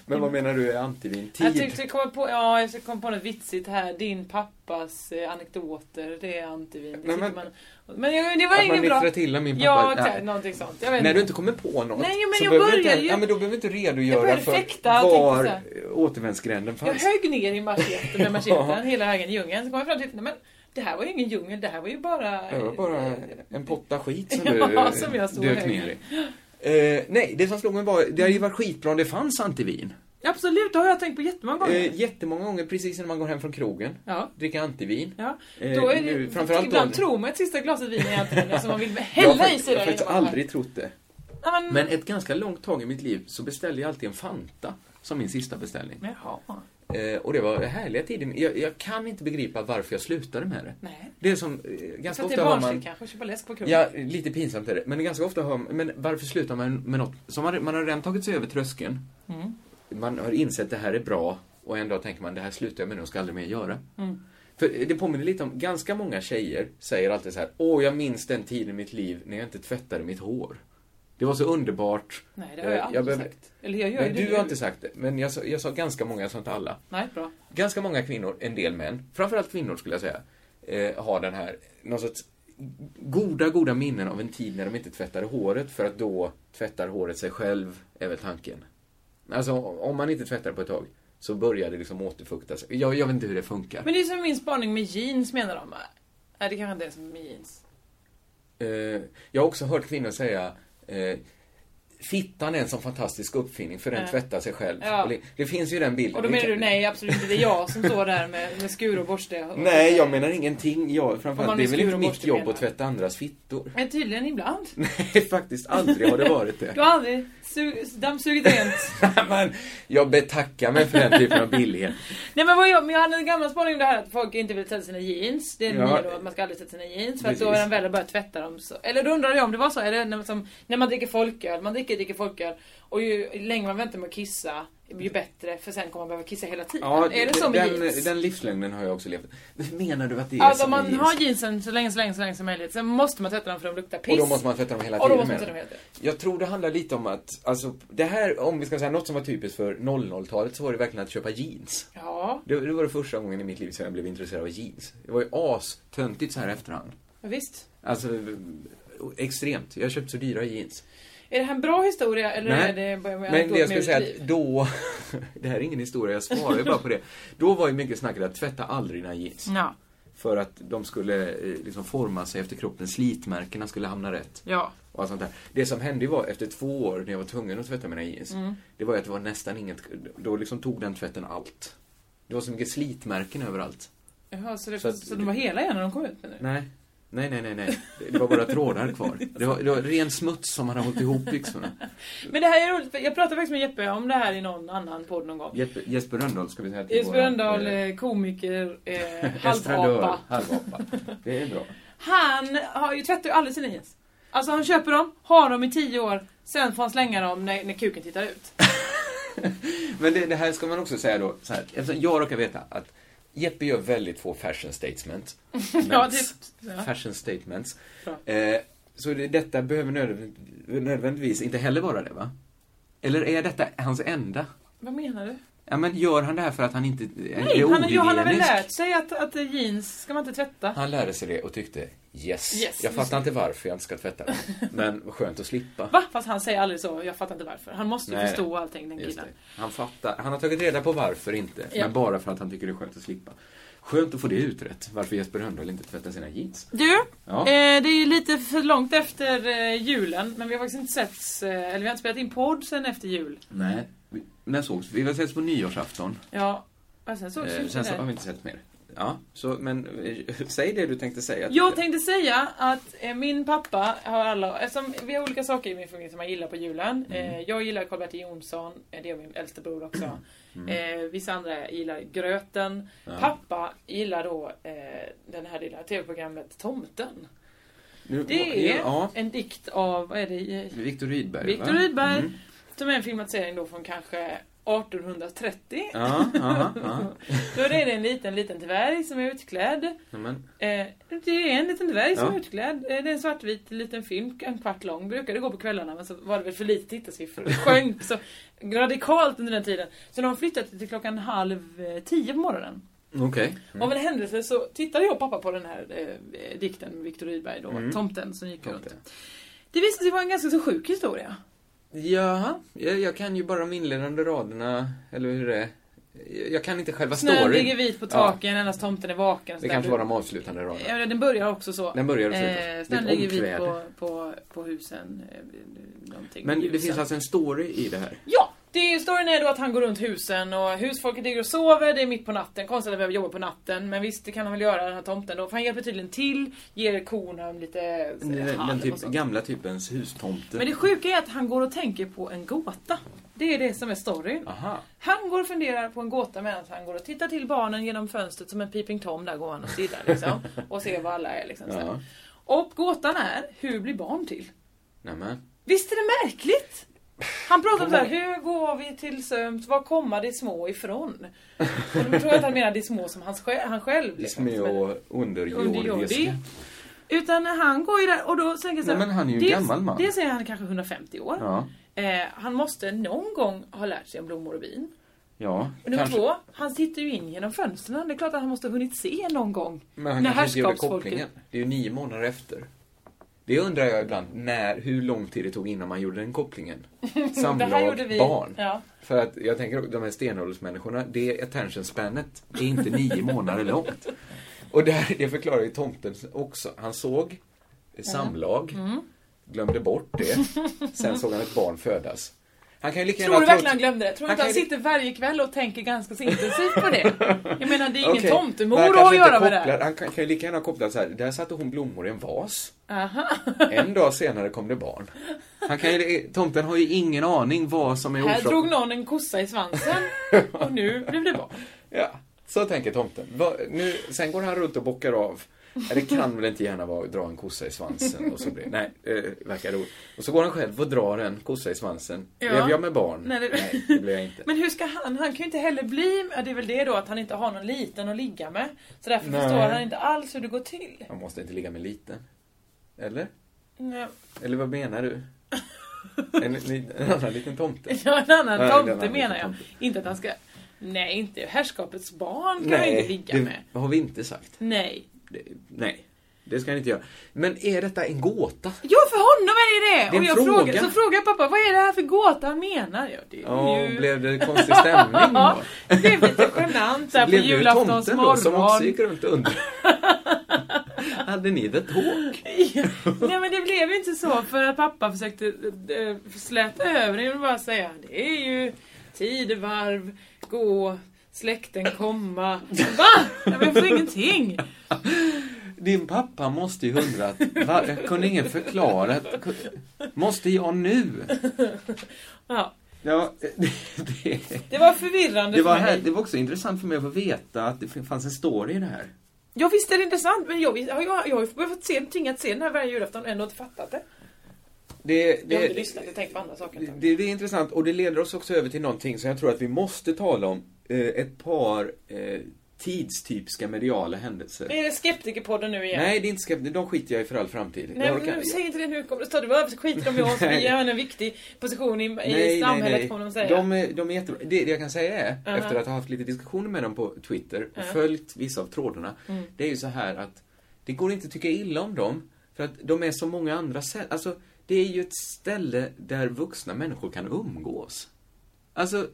G: men vad menar du är antivin?
F: Jag
G: Tid?
F: tyckte jag kom på, ja, jag kom på något vitsigt här. Din pappas eh, anekdoter, det är antivin. Det
G: Nej,
F: men,
G: men-
F: man, men jag- det var
G: Att man
F: inget bra.
G: nyktrar till när min pappa...
F: Ja,
G: Nej.
F: exakt. Någonting sånt. Jag vet
G: När du inte kommer på något.
F: Nej, men
G: så
F: jag
G: behöver du
F: börjar
G: inte,
F: ju-
G: Ja, men då behöver du inte
F: Jag
G: redogöra
F: började
G: för
F: fäkta,
G: var
F: tänkte
G: återvändsgränden
F: Jag
G: fanns.
F: högg ner i macheten med macheten hela vägen i djungeln. Så kom jag fram till, nej men det här var ju ingen djungel, det här var ju bara...
G: Det var bara en potta skit som
F: Ja,
G: du
F: som jag stod och
G: dök
F: högg.
G: ner i. Eh, nej, det som slog mig var, det hade ju varit skitbra om det fanns antivin.
F: Absolut, det har jag tänkt på jättemånga gånger.
G: Eh, jättemånga gånger precis när man går hem från krogen,
F: Ja.
G: dricka antivin.
F: Ja,
G: Eh,
F: då är det,
G: nu, framförallt
F: ibland
G: då-
F: tror man ett sista glaset vin är antivin som man vill
G: jag
F: hälla
G: har
F: i
G: fakt-
F: sig.
G: jag har
F: där
G: faktiskt
F: innan man-
G: aldrig trott det.
F: Ja, men,
G: Men ett ganska långt tag i mitt liv så beställde jag alltid en Fanta som min sista beställning.
F: Jaha.
G: Eh, och det var härliga tider. Jag, jag kan inte begripa varför jag slutade med det.
F: Nej.
G: Det är som, eh,
F: För
G: ganska
F: att det är
G: ofta hör
F: barnsligt
G: man...
F: kanske, köpa läsk på krogen.
G: Ja, lite pinsamt är det. Men ganska ofta hör man, men varför slutar man med något som man, man har redan tagit sig över tröskeln.
F: Mm.
G: Man har insett det här är bra och en dag tänker man det här slutar jag med nu och ska aldrig mer göra.
F: Mm.
G: För det påminner lite om, ganska många tjejer säger alltid så här, åh jag minns den tiden i mitt liv när jag inte tvättade mitt hår. Det var så underbart.
F: Nej, det har jag
G: Eh,
F: aldrig sagt. Eller jag gör ju
G: Nej,
F: det
G: du
F: nu.
G: har inte sagt det, men jag sa, jag sa ganska många, jag sa inte alla.
F: Nej, bra.
G: Ganska många kvinnor, en del män, framförallt kvinnor skulle jag säga, eh, har den här, någon sorts goda, goda minnen av en tid när de inte tvättade håret för att då tvättar håret sig själv, är väl tanken. Alltså, om man inte tvättar på ett tag så börjar det liksom återfukta sig. Jag, jag vet inte hur det funkar.
F: Men det är som min spaning med jeans menar de. Nej, det kanske inte är som med jeans.
G: Eh, jag har också hört kvinnor säga eh, Fittan är en sån fantastisk uppfinning för den
F: Ja.
G: tvättar sig själv.
F: Ja.
G: Och Det, det finns ju den bilden.
F: Och då
G: Det
F: menar
G: kan-
F: du nej, absolut inte. Det är jag som står där med, med skur och borste. och-
G: Nej, jag menar ingenting. Jag,
F: Om man
G: framförallt, det är
F: nu
G: väl
F: skulle
G: inte
F: och
G: mitt
F: borste
G: jobb
F: menar.
G: att tvätta andras fittor?
F: Men tydligen ibland.
G: Nej, faktiskt aldrig har det varit
F: Du
G: det.
F: har aldrig su- dammsugit rent.
G: Men jag betackar mig för den typen av billighet.
F: Nej men vad jag, men jag hade en gammal spaning om det här att folk inte vill tvätta sina jeans. Det är
G: Ja.
F: ja. då, att man ska aldrig tvätta sina jeans. För att då
G: Precis.
F: är den väl har börjat tvätta dem. Så. Eller då undrar jag om det var så. Är det när, som, när man dricker folköl, man dricker, dricker folköl. Och ju längre man väntar med att kissa, ju bättre. För sen kommer man behöva kissa hela tiden.
G: Ja,
F: är det så med
G: den,
F: jeans?
G: den livslängden har jag också levt. Menar du att det är
F: alltså
G: som
F: om man
G: med
F: har jeansen så länge, så länge, så länge som möjligt. Sen måste man tvätta dem för de luktar piss.
G: Och då måste man tvätta dem hela
F: Och då
G: tiden.
F: måste man
G: med.
F: tvätta dem hela tiden.
G: Jag tror det handlar lite om att, alltså, det här, om vi ska säga något som var typiskt för 00-talet så var det verkligen att köpa jeans.
F: Ja,
G: Det, det var det första gången i mitt liv som jag blev intresserad av jeans. Det var ju astöntigt så här i efterhand.
F: visst.
G: Alltså, extremt. Jag har köpt så dyra jeans.
F: Är det här en bra historia eller
G: Nej,
F: är det bara en
G: Men det jag skulle säga
F: mitt
G: att då, det här är ingen historia, jag svarar ju bara på det. Då var ju mycket snacket att tvätta aldrig dina jeans.
F: Ja.
G: För att de skulle eh, liksom forma sig efter kroppen, slitmärkena skulle hamna rätt.
F: Ja.
G: Och allt sånt där. Det som hände var, efter två år när jag var tvungen att tvätta mina jeans, det var ju att det var nästan inget, då liksom tog den tvätten allt. Det var så mycket slitmärken överallt.
F: Jaha, så, det, så,
G: Så att-
F: de var hela igen när de kom ut menar du?
G: Nej. Nej, nej, nej, nej. Det var bara trådar kvar. Det var, det var ren smuts som hade hållit ihop byxorna.
F: Men det här är roligt, för jag pratade faktiskt med Jeppe om det här i någon annan podd någon gång.
G: Jesper, Jesper Rönndahl ska vi säga till
F: Jesper
G: våran,
F: Rönndahl,
G: eh,
F: eh, komiker, eh,
G: estradör,
F: halvapa.
G: Halvapa. Det är bra.
F: Han har ju tvättar ju aldrig sina jeans. Alltså han köper dem, har dem i tio år, sen får han slänga dem när, när kuken tittar ut.
G: Men det, det här ska man också säga då, så här, eftersom jag råkar veta att Jeppe gör väldigt få fashion statements.
F: Ja,
G: Ments.
F: det- ja.
G: Fashion statements.
F: Bra.
G: Eh, så det, detta behöver nödvändigt, nödvändigtvis inte heller vara det, va? Eller är detta hans enda?
F: Vad menar du?
G: Ja, men gör han det här för att han inte är
F: Nej, han, ja, han har väl
G: ohygienisk?
F: lärt sig att, att eh, jeans ska man inte tvätta.
G: Han lärde sig det och tyckte yes.
F: Yes.
G: jag fattar inte varför jag inte ska tvätta den. Men vad skönt att slippa.
F: Va? Fast han säger aldrig så, jag fattar inte varför. Han måste ju
G: Nej.
F: förstå allting den
G: Just
F: killen.
G: det. Han fattar. Han har tagit reda på varför inte,
F: Ja.
G: men bara för att han tycker det är skönt att slippa. Skönt att få det utrett, varför Jesper Rönndahl inte tvättar sina jeans.
F: Du,
G: Ja.
F: eh, det är ju lite för långt efter eh, julen, men vi har faktiskt inte setts, eh, eller vi har inte spelat in podd sen efter jul.
G: Nej. när sågs vi? Vi har setts på nyårsafton.
F: Ja. Och sen sågs
G: Eh,
F: vi
G: sen så har
F: där.
G: vi inte sett mer. Ja, så, men eh, säg det du tänkte säga.
F: Jag tänkte säga att eh, min pappa har alla, eftersom vi har olika saker i min familj som man gillar på julen.
G: Mm.
F: Eh, jag gillar Karl-Bertil Jonsson, eh, det är min äldste bror också.
G: Mm.
F: Eh, vissa andra gillar gröten. Pappa gillar då eh, den här lilla tv-programmet Tomten.
G: Nu-
F: Det är
G: Ja,
F: en dikt av, vad är det? eh,
G: Viktor Rydberg. va?
F: Viktor Rydberg.
G: Mm.
F: Som är en filmatisering då från kanske 1830.
G: Ja, ja, ja.
F: Då är det en liten, liten dvärg som är utklädd.
G: Ja, Men,
F: Eh, det är en liten dvärg som
G: Ja.
F: är utklädd. Eh, det är en svartvit liten film, en kvart lång. Brukade gå på kvällarna men så var det väl för lite tittarsiffror. Det sjönk så radikalt under den tiden. Så de har flyttat till klockan halv eh, tio på morgonen.
G: okej. Mm.
F: Av en händelse så tittade jag och pappa på den här eh, dikten med Viktor Rydberg då,
G: Mm.
F: Tomten som gick
G: Tomte.
F: runt. Det visade sig vara en ganska så sjuk historia.
G: Jaha, jag, jag kan ju bara de inledande raderna, eller hur det är. Jag- Jag kan inte själva
F: Snön ligger
G: storyn.
F: vit på
G: Ja.
F: taken, endast tomten är vaken. Så
G: Det
F: där
G: kanske
F: du-
G: var de avslutande raderna.
F: Ja, den börjar också så.
G: Den börjar och slutar.
F: eh, snön
G: Det är ett
F: ligger vit på,
G: omkväde.
F: på, på husen. eh, Någonting.
G: Men det
F: Ljusen.
G: finns alltså en story i det här.
F: Ja! Det är, storyn är då att han går runt husen och husfolket ligger och sover, det är mitt på natten. Konstigt att han behöver jobba på natten. Men visst, det kan han väl göra den här tomten då. För han hjälper tydligen till, ger korna lite eh,
G: Den,
F: halm
G: den
F: och
G: typ,
F: sånt.
G: gamla typens hustomte.
F: Men det sjuka är att han går och tänker på en gåta. Det är det som är storyn.
G: Aha.
F: Han går och funderar på en gåta medan han går och tittar till barnen genom fönstret som en peeping tom. Där går han och stirrar liksom. Och ser vad alla är liksom. så här.
G: Ja.
F: Och gåtan är, hur blir barn till?
G: Nämen.
F: Visst är det märkligt? Han pratar om så här, hur går vi till sömns? Var kommer de små ifrån? Och då tror jag att han menar de små som han, sj- han själv. Liksom,
G: Smö
F: som
G: och
F: är underjordisk.
G: underjordiska.
F: Utan han går ju där och då tänker jag så här,
G: Nej, men han är ju en
F: dels,
G: gammal man.
F: Dels är han kanske 150 år.
G: Ja.
F: Eh, han måste någon gång ha lärt sig om blommor och bin.
G: Ja,
F: Och nummer två, han sitter ju in genom fönstren. Det är klart att han måste ha hunnit se någon gång.
G: Men han kanske inte gjorde kopplingen. Det är ju nio månader efter. Det undrar jag ibland, när, hur lång tid det tog innan man gjorde den kopplingen.
F: Det här gjorde
G: Samlag,
F: vi.
G: barn.
F: Ja.
G: För att jag tänker också, de här stenåldersmänniskorna, det attention spanet är inte nio månader långt. Och det, här, det förklarar ju tomten också. Han såg samlag,
F: Mm.
G: glömde bort det, sen såg han ett barn födas. Han kan ju lika
F: Tror
G: ha
F: du verkligen han
G: trott-
F: glömde det? Tror du inte
G: kan
F: han
G: ju-
F: sitter varje kväll och tänker ganska så intensivt på det? Jag menar, det är ingen
G: Okej,
F: tomtemor
G: men han
F: att ha
G: kanske inte
F: att göra med det
G: kopplar-
F: här.
G: Han kan, kan ju lika gärna ha kopplat så här, där satte hon blommor i en vas.
F: Aha.
G: En dag senare kom det barn. Han kan ju, tomten har ju ingen aning vad som är
F: Här drog
G: orsaken.
F: någon en kossa i svansen och nu blev det barn.
G: Ja, så tänker tomten. Va, nu, sen går han runt och bockar av. Nej, Det kan väl inte gärna vara att dra en kossa i svansen och så blir nej, eh, verkar roligt. Och så går han själv och drar en kossa i svansen.
F: Ja.
G: Blev jag med barn?
F: Nej, det-
G: nej, det blev jag inte.
F: Men hur ska han? Han kan ju inte heller bli... Ja, det är väl det då att han inte har någon liten att ligga med. Så därför
G: Nej.
F: förstår han inte alls hur det går till.
G: Man måste inte ligga med liten. Eller?
F: Nej.
G: Eller vad menar du? En, li- en annan liten tomte?
F: Ja, en annan
G: Nej, en
F: tomte
G: annan
F: menar jag.
G: liten
F: Inte att han ska... Nej, inte herrskapets barn kan han ju
G: Nej,
F: inte ligga
G: det
F: med.
G: har vi inte sagt.
F: Nej.
G: Det, nej, det ska han inte göra. Men är detta en gåta?
F: Ja, för honom är det det!
G: Det är
F: och
G: en
F: jag
G: fråga.
F: frågar, så frågar jag pappa, vad är det här för gåta han menar? Ja, det är
G: Ja,
F: ju...
G: blev det konstig stämning
F: Ja,
G: då?
F: det blev lite genant där på
G: Blev du
F: julaftons
G: tomten då som också
F: morgon.
G: gick runt och undrade? Hade ni the talk?
F: Nej men det blev ju inte så för att pappa försökte äh, släta över det. Jag vill bara säga, det är ju tidevarv, gå, släkten komma. Va? Nej, men jag får ingenting.
G: Din pappa måste ju undrat, va, kunde ingen förklara? att- Måste jag nu?
F: Ja,
G: Ja, det, det,
F: det var förvirrande
G: det, var
F: för mig.
G: här, det var också intressant för mig att få veta att det fanns en story i det här.
F: Ja visst är det intressant men jag, jag, jag, jag har ju behövt se, tvingats se den här varje julafton och ändå inte fattat det.
G: Det,
F: Jag har inte
G: det,
F: lyssnat, jag tänkte på andra saker. ett tag.
G: Det, det är intressant och det leder oss också över till någonting som jag tror att vi måste tala om. Eh, ett par eh, tidstypiska mediala händelser.
F: Är det Skeptikerpodden nu igen?
G: Nej, det är inte skräp, de skiter jag i för all framtid.
F: Nej
G: jag
F: men nu, säg inte det nu, kommer det stå du över så skiter de i oss,
G: Nej.
F: vi har en viktig position i, i
G: Nej, nej,
F: samhället
G: nej.
F: kommer de säga. Uh-huh.
G: De, är- de är jättebra. Det, det jag kan säga är, efter att ha haft lite diskussioner med dem på Twitter och följt vissa av trådarna,
F: Mm.
G: det är ju så här att det går inte att tycka illa om dem, för att de är så många andra sätt. Alltså, det är ju ett ställe där vuxna människor kan umgås. Alltså,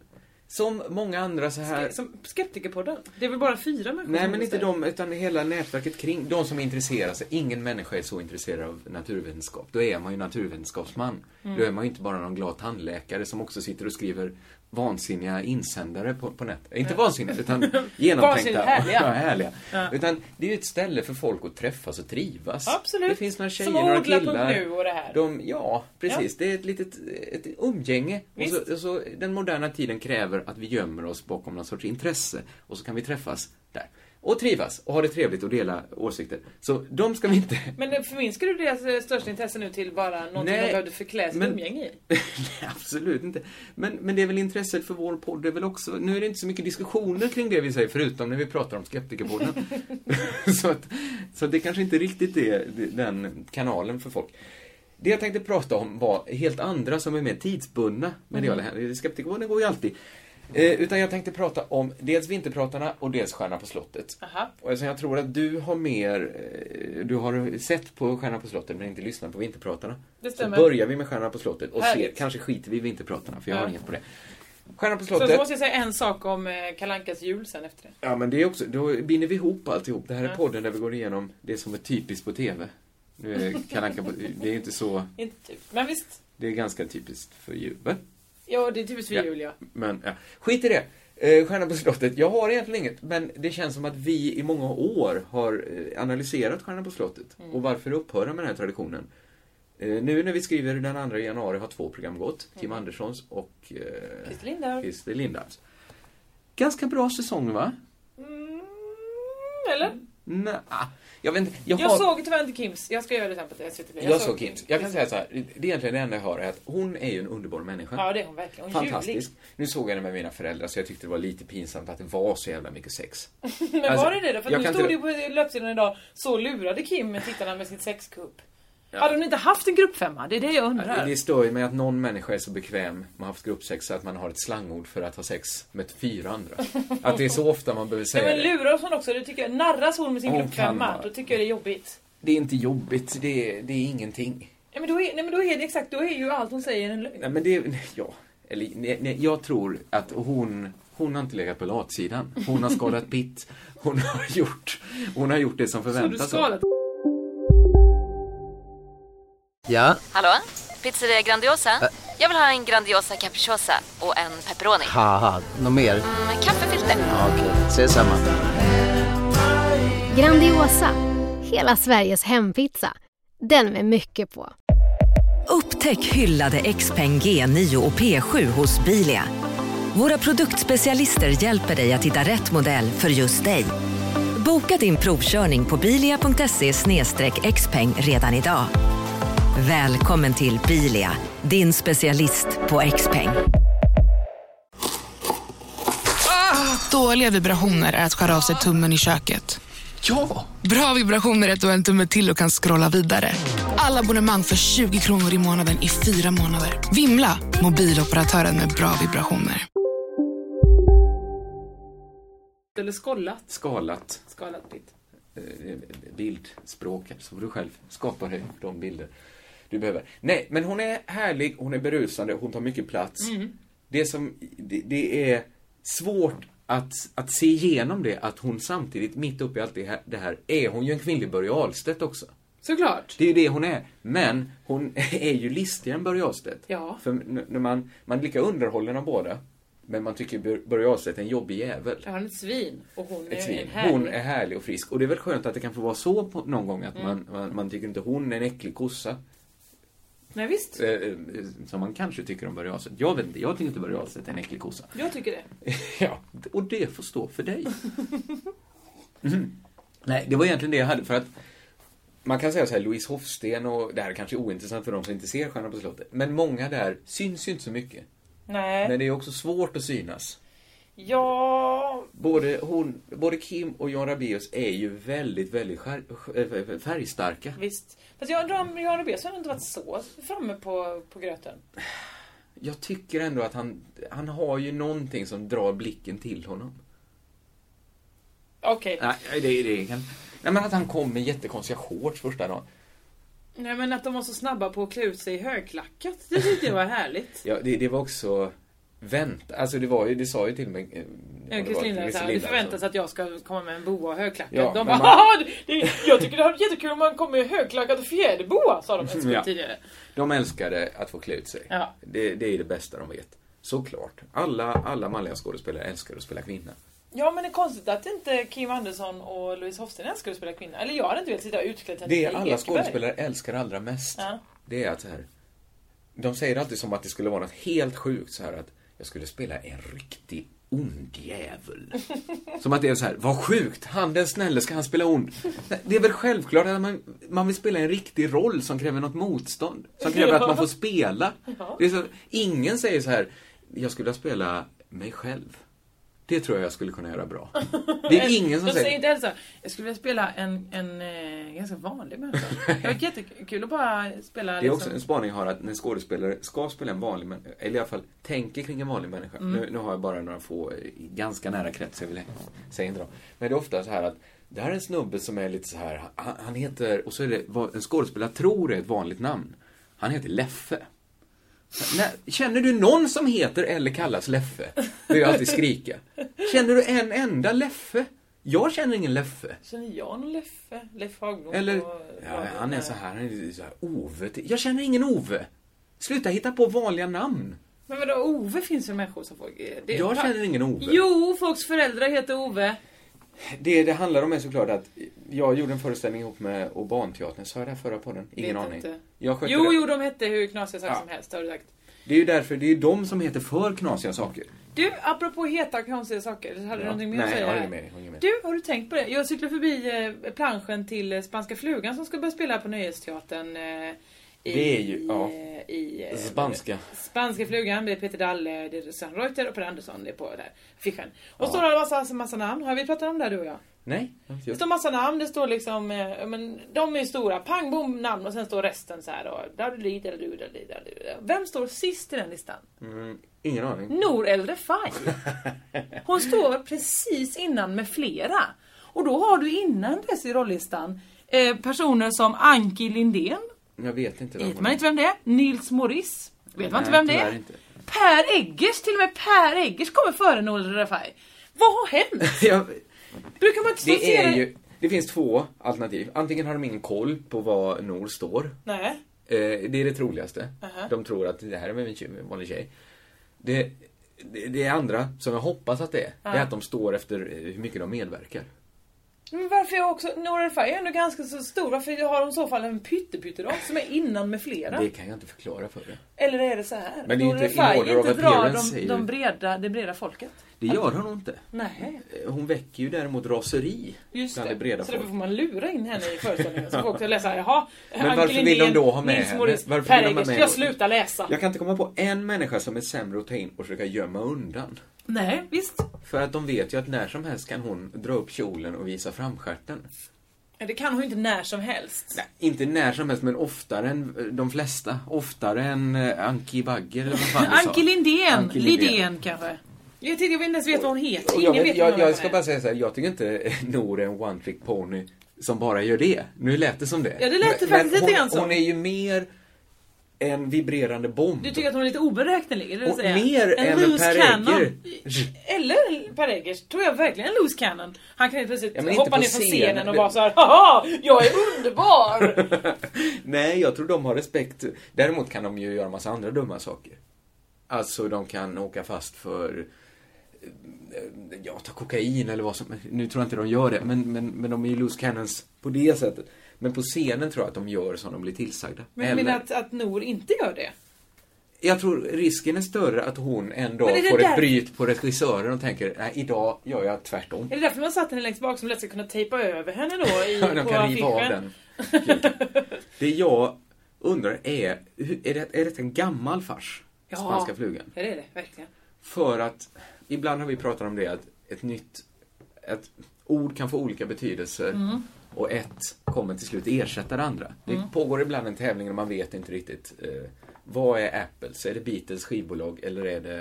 G: som många andra så här...
F: Som Skeptikerpodden, det är väl bara fyra människor
G: Nej,
F: som
G: men inte
F: säger.
G: de, utan hela nätverket kring. De som intresserar sig. Ingen människa är så intresserad av naturvetenskap. Då är man ju naturvetenskapsman. Då är man ju inte bara någon glad tandläkare som också sitter och skriver vansinniga insändare på, på nätet. Inte vansinniga, utan genomtänkta.
F: Vansinnigt härliga.
G: Ja, härliga. Utan det är ju ett ställe för folk att träffas och trivas.
F: Absolut.
G: Det finns några tjejer,
F: Som
G: några
F: odla.nu
G: killar.
F: och det här.
G: De, ja, precis. Det är ett litet ett umgänge. Och så, och så, den moderna tiden kräver att vi gömmer oss bakom någon sorts intresse. Och så kan vi träffas där. Och trivas och ha det trevligt och dela åsikter. Så de ska vi inte...
F: Men eh, förminskar du deras eh, största intresse nu till bara någonting de behövde förklä sitt
G: men-
F: umgänge i?
G: Nej, absolut inte. Men, men det är väl intresset för vår podd är väl också... Nu är det inte så mycket diskussioner kring det vi säger, förutom när vi pratar om Skeptikerpodden. så, att, så det kanske inte riktigt är den kanalen för folk. Det jag tänkte prata om var helt andra som är mer tidsbundna mediala
F: Mm.
G: händelser. Skeptikerpodden går ju alltid. Eh, utan jag tänkte prata om dels Vinterpratarna och dels Stjärna på slottet.
F: Aha.
G: Och eftersom jag tror att du har mer, eh, du har sett på Stjärna på slottet men inte lyssnat på Vinterpratarna.
F: Det
G: Så
F: stämmer.
G: börjar börjar vi med Stjärnan på slottet och ser,
F: Härligt.
G: kanske skiter vi i Vinterpratarna för jag har
F: Ja.
G: inget på det. Stjärnan på
F: Så,
G: slottet.
F: så måste jag säga en sak om eh, Kalankas jul sen efter det.
G: Ja men det är också, då binder vi ihop alltihop. Det här är podden där vi går igenom det som är typiskt på TV. Nu är Kalle Anka på, det är inte så,
F: Inte typ. Men visst.
G: det är ganska typiskt för jul. va?
F: Ja, det är typiskt för
G: Ja.
F: jul ja.
G: Men ja. skit i det. Eh, Stjärnan på slottet. Jag har egentligen inget, men det känns som att vi i många år har eh, analyserat Stjärnan på slottet.
F: Mm.
G: Och varför upphöra med den här traditionen? Eh, nu när vi skriver den 2 januari har två program gått. Kim Anderssons och eh,
F: Mm. Christer Lindau.
G: Christer Lindarws. Ganska bra säsong va?
F: Mm, eller?
G: Nej, jag vet inte. Jag,
F: Jag
G: har-
F: såg tyvärr inte Kims. Jag ska göra det sen på SVT Play.
G: jag, såg Kims. Jag kan säga så här. Det är egentligen det enda jag hör är att hon är ju en underbar människa.
F: Ja, det är hon verkligen. Hon är
G: Fantastisk. Nu såg jag henne med mina föräldrar så jag tyckte det var lite pinsamt att det var så jävla mycket sex.
F: ljuvlig. Men
G: Alltså,
F: var det det då? För
G: jag
F: att nu
G: kan
F: stod det ju
G: inte-
F: på löpsedeln idag. Så lurade Kim tittarna med sitt sexkupp. Hade hon inte haft en gruppfemma? Det är det jag undrar.
G: Det stör ju mig att någon människa är så bekväm med att ha haft gruppsex så att man har ett slangord för att ha sex med fyra andra. Att det är så ofta man behöver
F: Ja,
G: säga
F: men
G: det.
F: luras hon också? Det tycker jag. Narras hon med sin
G: Hon kan
F: gruppfemma?
G: vara-
F: Då tycker jag det är jobbigt.
G: Det är inte jobbigt. Det är, det är ingenting.
F: Ja, men då är, nej men då är det exakt, då är ju allt hon säger en lögn.
G: Nej men det, nej, ja. Eller, nej, nej, jag tror att hon, hon har inte legat på latsidan. Hon har skadat pitt. Hon har gjort, hon har gjort det som
F: Så du
G: förväntas av
F: skalat
H: Ja,
I: Hallå? Pizzeria Grandiosa? Jag vill ha en Grandiosa capriciosa och en pepperoni.
H: haha, något mer?
I: Med kaffefilter.
H: Ja, Okej, ses samma.
J: Grandiosa, hela Sveriges hempizza. Den med mycket på.
K: Upptäck hyllade XPeng G9 och P7 hos Bilia. Våra produktspecialister hjälper dig att hitta rätt modell för just dig. Boka din provkörning på bilia.se xpeng redan idag. Välkommen till Bilia, din specialist på XPeng.
L: Dåliga vibrationer är att skära av sig tummen i köket.
G: Ja!
L: Bra vibrationer är att du har en tumme till och kan scrolla vidare. Alla abonnemang för 20 kronor i månaden i fyra månader. Vimla! Mobiloperatören med bra vibrationer.
F: eller skollat.
G: Skalat
F: Skalat ditt.
G: eh, bildspråk, så får du själv skapa dig de bilder du behöver. Nej, men hon är härlig, hon är berusande, hon tar mycket plats.
F: Mm.
G: Det som, det, det är svårt att, att se igenom det, att hon samtidigt, mitt uppe i allt det här, det här är hon ju en kvinnlig Börje Ahlstedt också.
F: Såklart.
G: Det är ju det hon är. Men hon är ju listigare än Börje Ahlstedt.
F: Ja.
G: För n- när man, man är lika underhållen av båda. Men man tycker Bör- Börje Ahlstedt är en jobbig jävel.
F: Han är ett svin och hon är
G: Ett svin.
F: en härlig.
G: Hon är härlig och frisk. Och det är väl skönt att det kan få vara så på, någon gång att
F: Mm.
G: man, man, man tycker inte hon är en äcklig kossa.
F: Nej visst,
G: Eh, eh, som man kanske tycker om Börje Ahlstedt. Jag vet inte, jag tycker inte Börje Ahlstedt är en äcklig kossa.
F: jag tycker det.
G: Ja, och det får stå för dig. Mhm. Nej, det var egentligen det jag hade för att man kan säga så här, Louise Hofsten och det här kanske är ointressant för de som inte ser Stjärnan på slottet. Men många där syns ju inte så mycket.
F: Nej.
G: Men det är också svårt att synas.
F: Ja,
G: Både, hon, både Kim och Jan Rabaeus är ju väldigt, väldigt skär, äh, färgstarka.
F: visst. Fast jag undrar om Johan Rubaeus har inte varit så framme på, på gröten.
G: Jag tycker ändå att han, han har ju någonting som drar blicken till honom.
F: Okej.
G: Nej, det, det kan... Nej, men att han kom med jättekonstiga shorts första dagen.
F: Nej men att de var så snabba på att klä ut sig i högklackat, det tyckte jag var härligt.
G: Ja, det, det var också vänt. Alltså det var ju, det sa ju till mig... eh, vad det var,
F: Christer Lindberg
G: Christer
F: sa, det
G: Lindberg,
F: förväntas
G: alltså.
F: att jag ska komma med en boa och högklackat.
G: Ja,
F: de bara
G: men man-
F: man... det, är- Jag tycker det hade varit jättekul om man kom med högklackat och fjäderboa, sa de en sekund
G: Mm, Ja.
F: tidigare.
G: De älskade att få klä ut sig.
F: Ja.
G: Det, det är det bästa de vet. Såklart. Alla, alla manliga skådespelare älskar att spela kvinna.
F: Ja men det är konstigt att inte Kim Andersson och Louise Hofsten ens skulle spela kvinna. Eller jag hade inte velat sitta utklädd till
G: Det är
F: Annika
G: alla
F: Ekberg.
G: skådespelare älskar allra mest.
F: Ja.
G: Det är att så här. De säger alltid som att det skulle vara något helt sjukt så här att jag skulle spela en riktig ond jävel. Som att det är så här, vad sjukt, han den snälle, ska han spela ond? Nej, Det är väl självklart att man, man vill spela en riktig roll som kräver något motstånd. Som kräver att man får spela.
F: Ja.
G: Det är så, ingen säger så här, jag skulle vilja spela mig själv. Det tror jag jag skulle kunna göra bra. Det är ingen som
F: De säger
G: säger,
F: inte heller så här, jag skulle vilja spela en, en eh, ganska vanlig människa. Det var jättekul att bara spela liksom
G: Det är också en spaning jag har att när skådespelare ska spela en vanlig människa, eller i alla fall tänker kring en vanlig människa.
F: Mm.
G: Nu, nu har jag bara några få eh, i ganska nära krets, jag vill säga inte dem. Men det är ofta så här att det här är en snubbe som är lite så här, han, han heter, och så är det vad en skådespelare tror är ett vanligt namn. Han heter Leffe. När, känner du någon som heter eller kallas Leffe? Vill jag alltid skrika. Känner du en enda Leffe? Jag känner ingen Leffe.
F: Känner jag någon Leffe? Leif Haglund?
G: Eller,
F: och-
G: ja, han är så här, han är så här, Ove. till- Jag känner ingen Ove. Sluta hitta på vanliga namn.
F: Men vadå, Ove finns ju människor som folk... eh, Det är-
G: Jag känner ingen Ove.
F: Jo, folks föräldrar heter Ove.
G: Det det handlar om är såklart att jag gjorde en föreställning ihop med Obanteatern. Sa jag det här förra podden? Ingen
F: Vet
G: aning.
F: inte.
G: Jag skötte
F: Jo,
G: det.
F: jo, de hette hur knasiga saker som helst, har du sagt.
G: Det är ju därför, det är ju de som heter för knasiga saker.
F: Du, apropå heta och konstiga saker, hade du någonting mer att
G: Nej,
F: säga?
G: jag har
F: här?
G: inget mer. jag har inget mer.
F: Du, har du tänkt på det? Jag cyklade förbi eh, planschen till eh, Spanska Flugan som ska börja spela på Nöjesteatern. Eh, i,
G: Det är ju, ja.
F: eh, I, eh,
G: Spanska.
F: Spanska Flugan, det är Peter Dalle, det är Susanne Reuter och Per Andersson, det är på där, affischen. Och så står det en massa, massa namn, har vi pratat om det här du och jag?
G: Nej.
F: Det står massa namn, det står liksom, eh, ja, men de är ju stora, pang bom namn och sen står resten så här då. dadadidi, dadadidi, dadadidi. Vem står sist i den listan?
G: Mm, ingen aning.
F: Nour El Refai. Hon står precis innan med flera. Och då har du innan dess i rollistan eh, personer som Anki Lindén,
G: Jag vet inte vem
F: vet man inte vem det är, Nils Morris, vet man inte
G: Nej,
F: vem det
G: tyvärr
F: är,
G: inte.
F: Per Eggers, till och med Per Eggers kommer före Nour El Refai. Vad har hänt?
G: Jag,
F: Brukar man inte stå och
G: det
F: se
G: är ju... Det finns två alternativ. Antingen har de ingen koll på vad Nor står.
F: Nej.
G: Eh, det är det troligaste.
F: Aha.
G: De tror att det här är med en tjej- en vanlig tjej. Det, det, det andra, som jag hoppas att det är, det
F: Ja.
G: är att de står efter eh, hur mycket de medverkar.
F: Uh-huh. Men varför är jag också... Nour El Refai är ändå ganska så stor. Varför har de i så fall en pyttepytterad som är innan med flera?
G: Det kan jag inte förklara för dig.
F: Eller är det så här?
G: Men det är
F: Nour El
G: inte in
F: Refai
G: order of
F: inte drar
G: appearance,
F: de,
G: är ju-
F: de breda, det breda folket.
G: Det gör hon nog inte.
F: Nej.
G: Eh, Hon väcker ju däremot raseri
F: Just
G: bland
F: det.
G: det breda
F: så därför
G: folket.
F: får man lura in henne i föreställningen. Så folk ska läsa, jaha,
G: Men varför vill de då ha med
F: Nils
G: henne?
F: Morris,
G: Varför
F: Per
G: vill de ha
F: Eggers.
G: med
F: Jag
G: henne?
F: slutar läsa.
G: Jag kan inte komma på en människa som är sämre att ta in och försöka gömma undan.
F: Nej, visst.
G: För att de vet ju att när som helst kan hon dra upp kjolen och visa framstjärten.
F: Det kan hon ju inte när som helst.
G: Nej, inte när som helst, men oftare än eh, de flesta. Oftare än eh, Anki Bagger eller vad fan du sa.
F: Anki Lindén.
G: Anki
F: Lidén kanske. Jag tycker jag vet inte ens vet vad hon heter.
G: Och jag,
F: Ingen
G: vet,
F: vet vem
G: jag,
F: hon
G: jag
F: är.
G: ska bara säga så här, jag tycker inte Nor är en one trick pony som bara gör det. Nu lät det som det.
F: Ja, det lät det
G: Men-
F: faktiskt
G: men
F: lite
G: hon-
F: grann som.
G: Hon är ju mer en vibrerande bomb.
F: Du tycker att hon är lite oberäknelig? Eller
G: Och mer än en Per Egger.
F: Eller Per Eggers, tror jag verkligen en loose cannon. Han kan ju plötsligt
G: Ja, men inte
F: hoppa
G: på
F: ner från
G: scenen.
F: scenen och vara såhär Haha, jag är underbar!
G: Nej, jag tror de har respekt. Däremot kan de ju göra massa andra dumma saker. Alltså, de kan åka fast för eh, ja, ta kokain eller vad som Nu tror jag inte de gör det, men, men, men de är ju loose cannons på det sättet. Men på scenen tror jag att de gör som de blir tillsagda.
F: Men jag
G: Eller-
F: menar att, att Nor inte gör det.
G: Jag tror risken är större att hon en
F: Men är
G: dag
F: det
G: får
F: där-
G: ett bryt på regissören och tänker, nej idag gör jag tvärtom.
F: Är det därför man satt henne längst bak som lätt ska kunna tejpa över henne då i,
G: Ja, de
F: på
G: kan riva av
F: affischen?
G: den. Det jag undrar är, hur- är det, är det en gammal fars?
F: Ja.
G: Spanska flugan.
F: Ja det är det, verkligen.
G: För att, ibland har vi pratat om det, att ett nytt, ett ord kan få olika betydelser.
F: Mm.
G: Och ett kommer till slut ersätta det andra. Det
F: Mm.
G: pågår ibland en tävling och man vet inte riktigt. Eh, vad är Apples? Är det Beatles skivbolag eller är det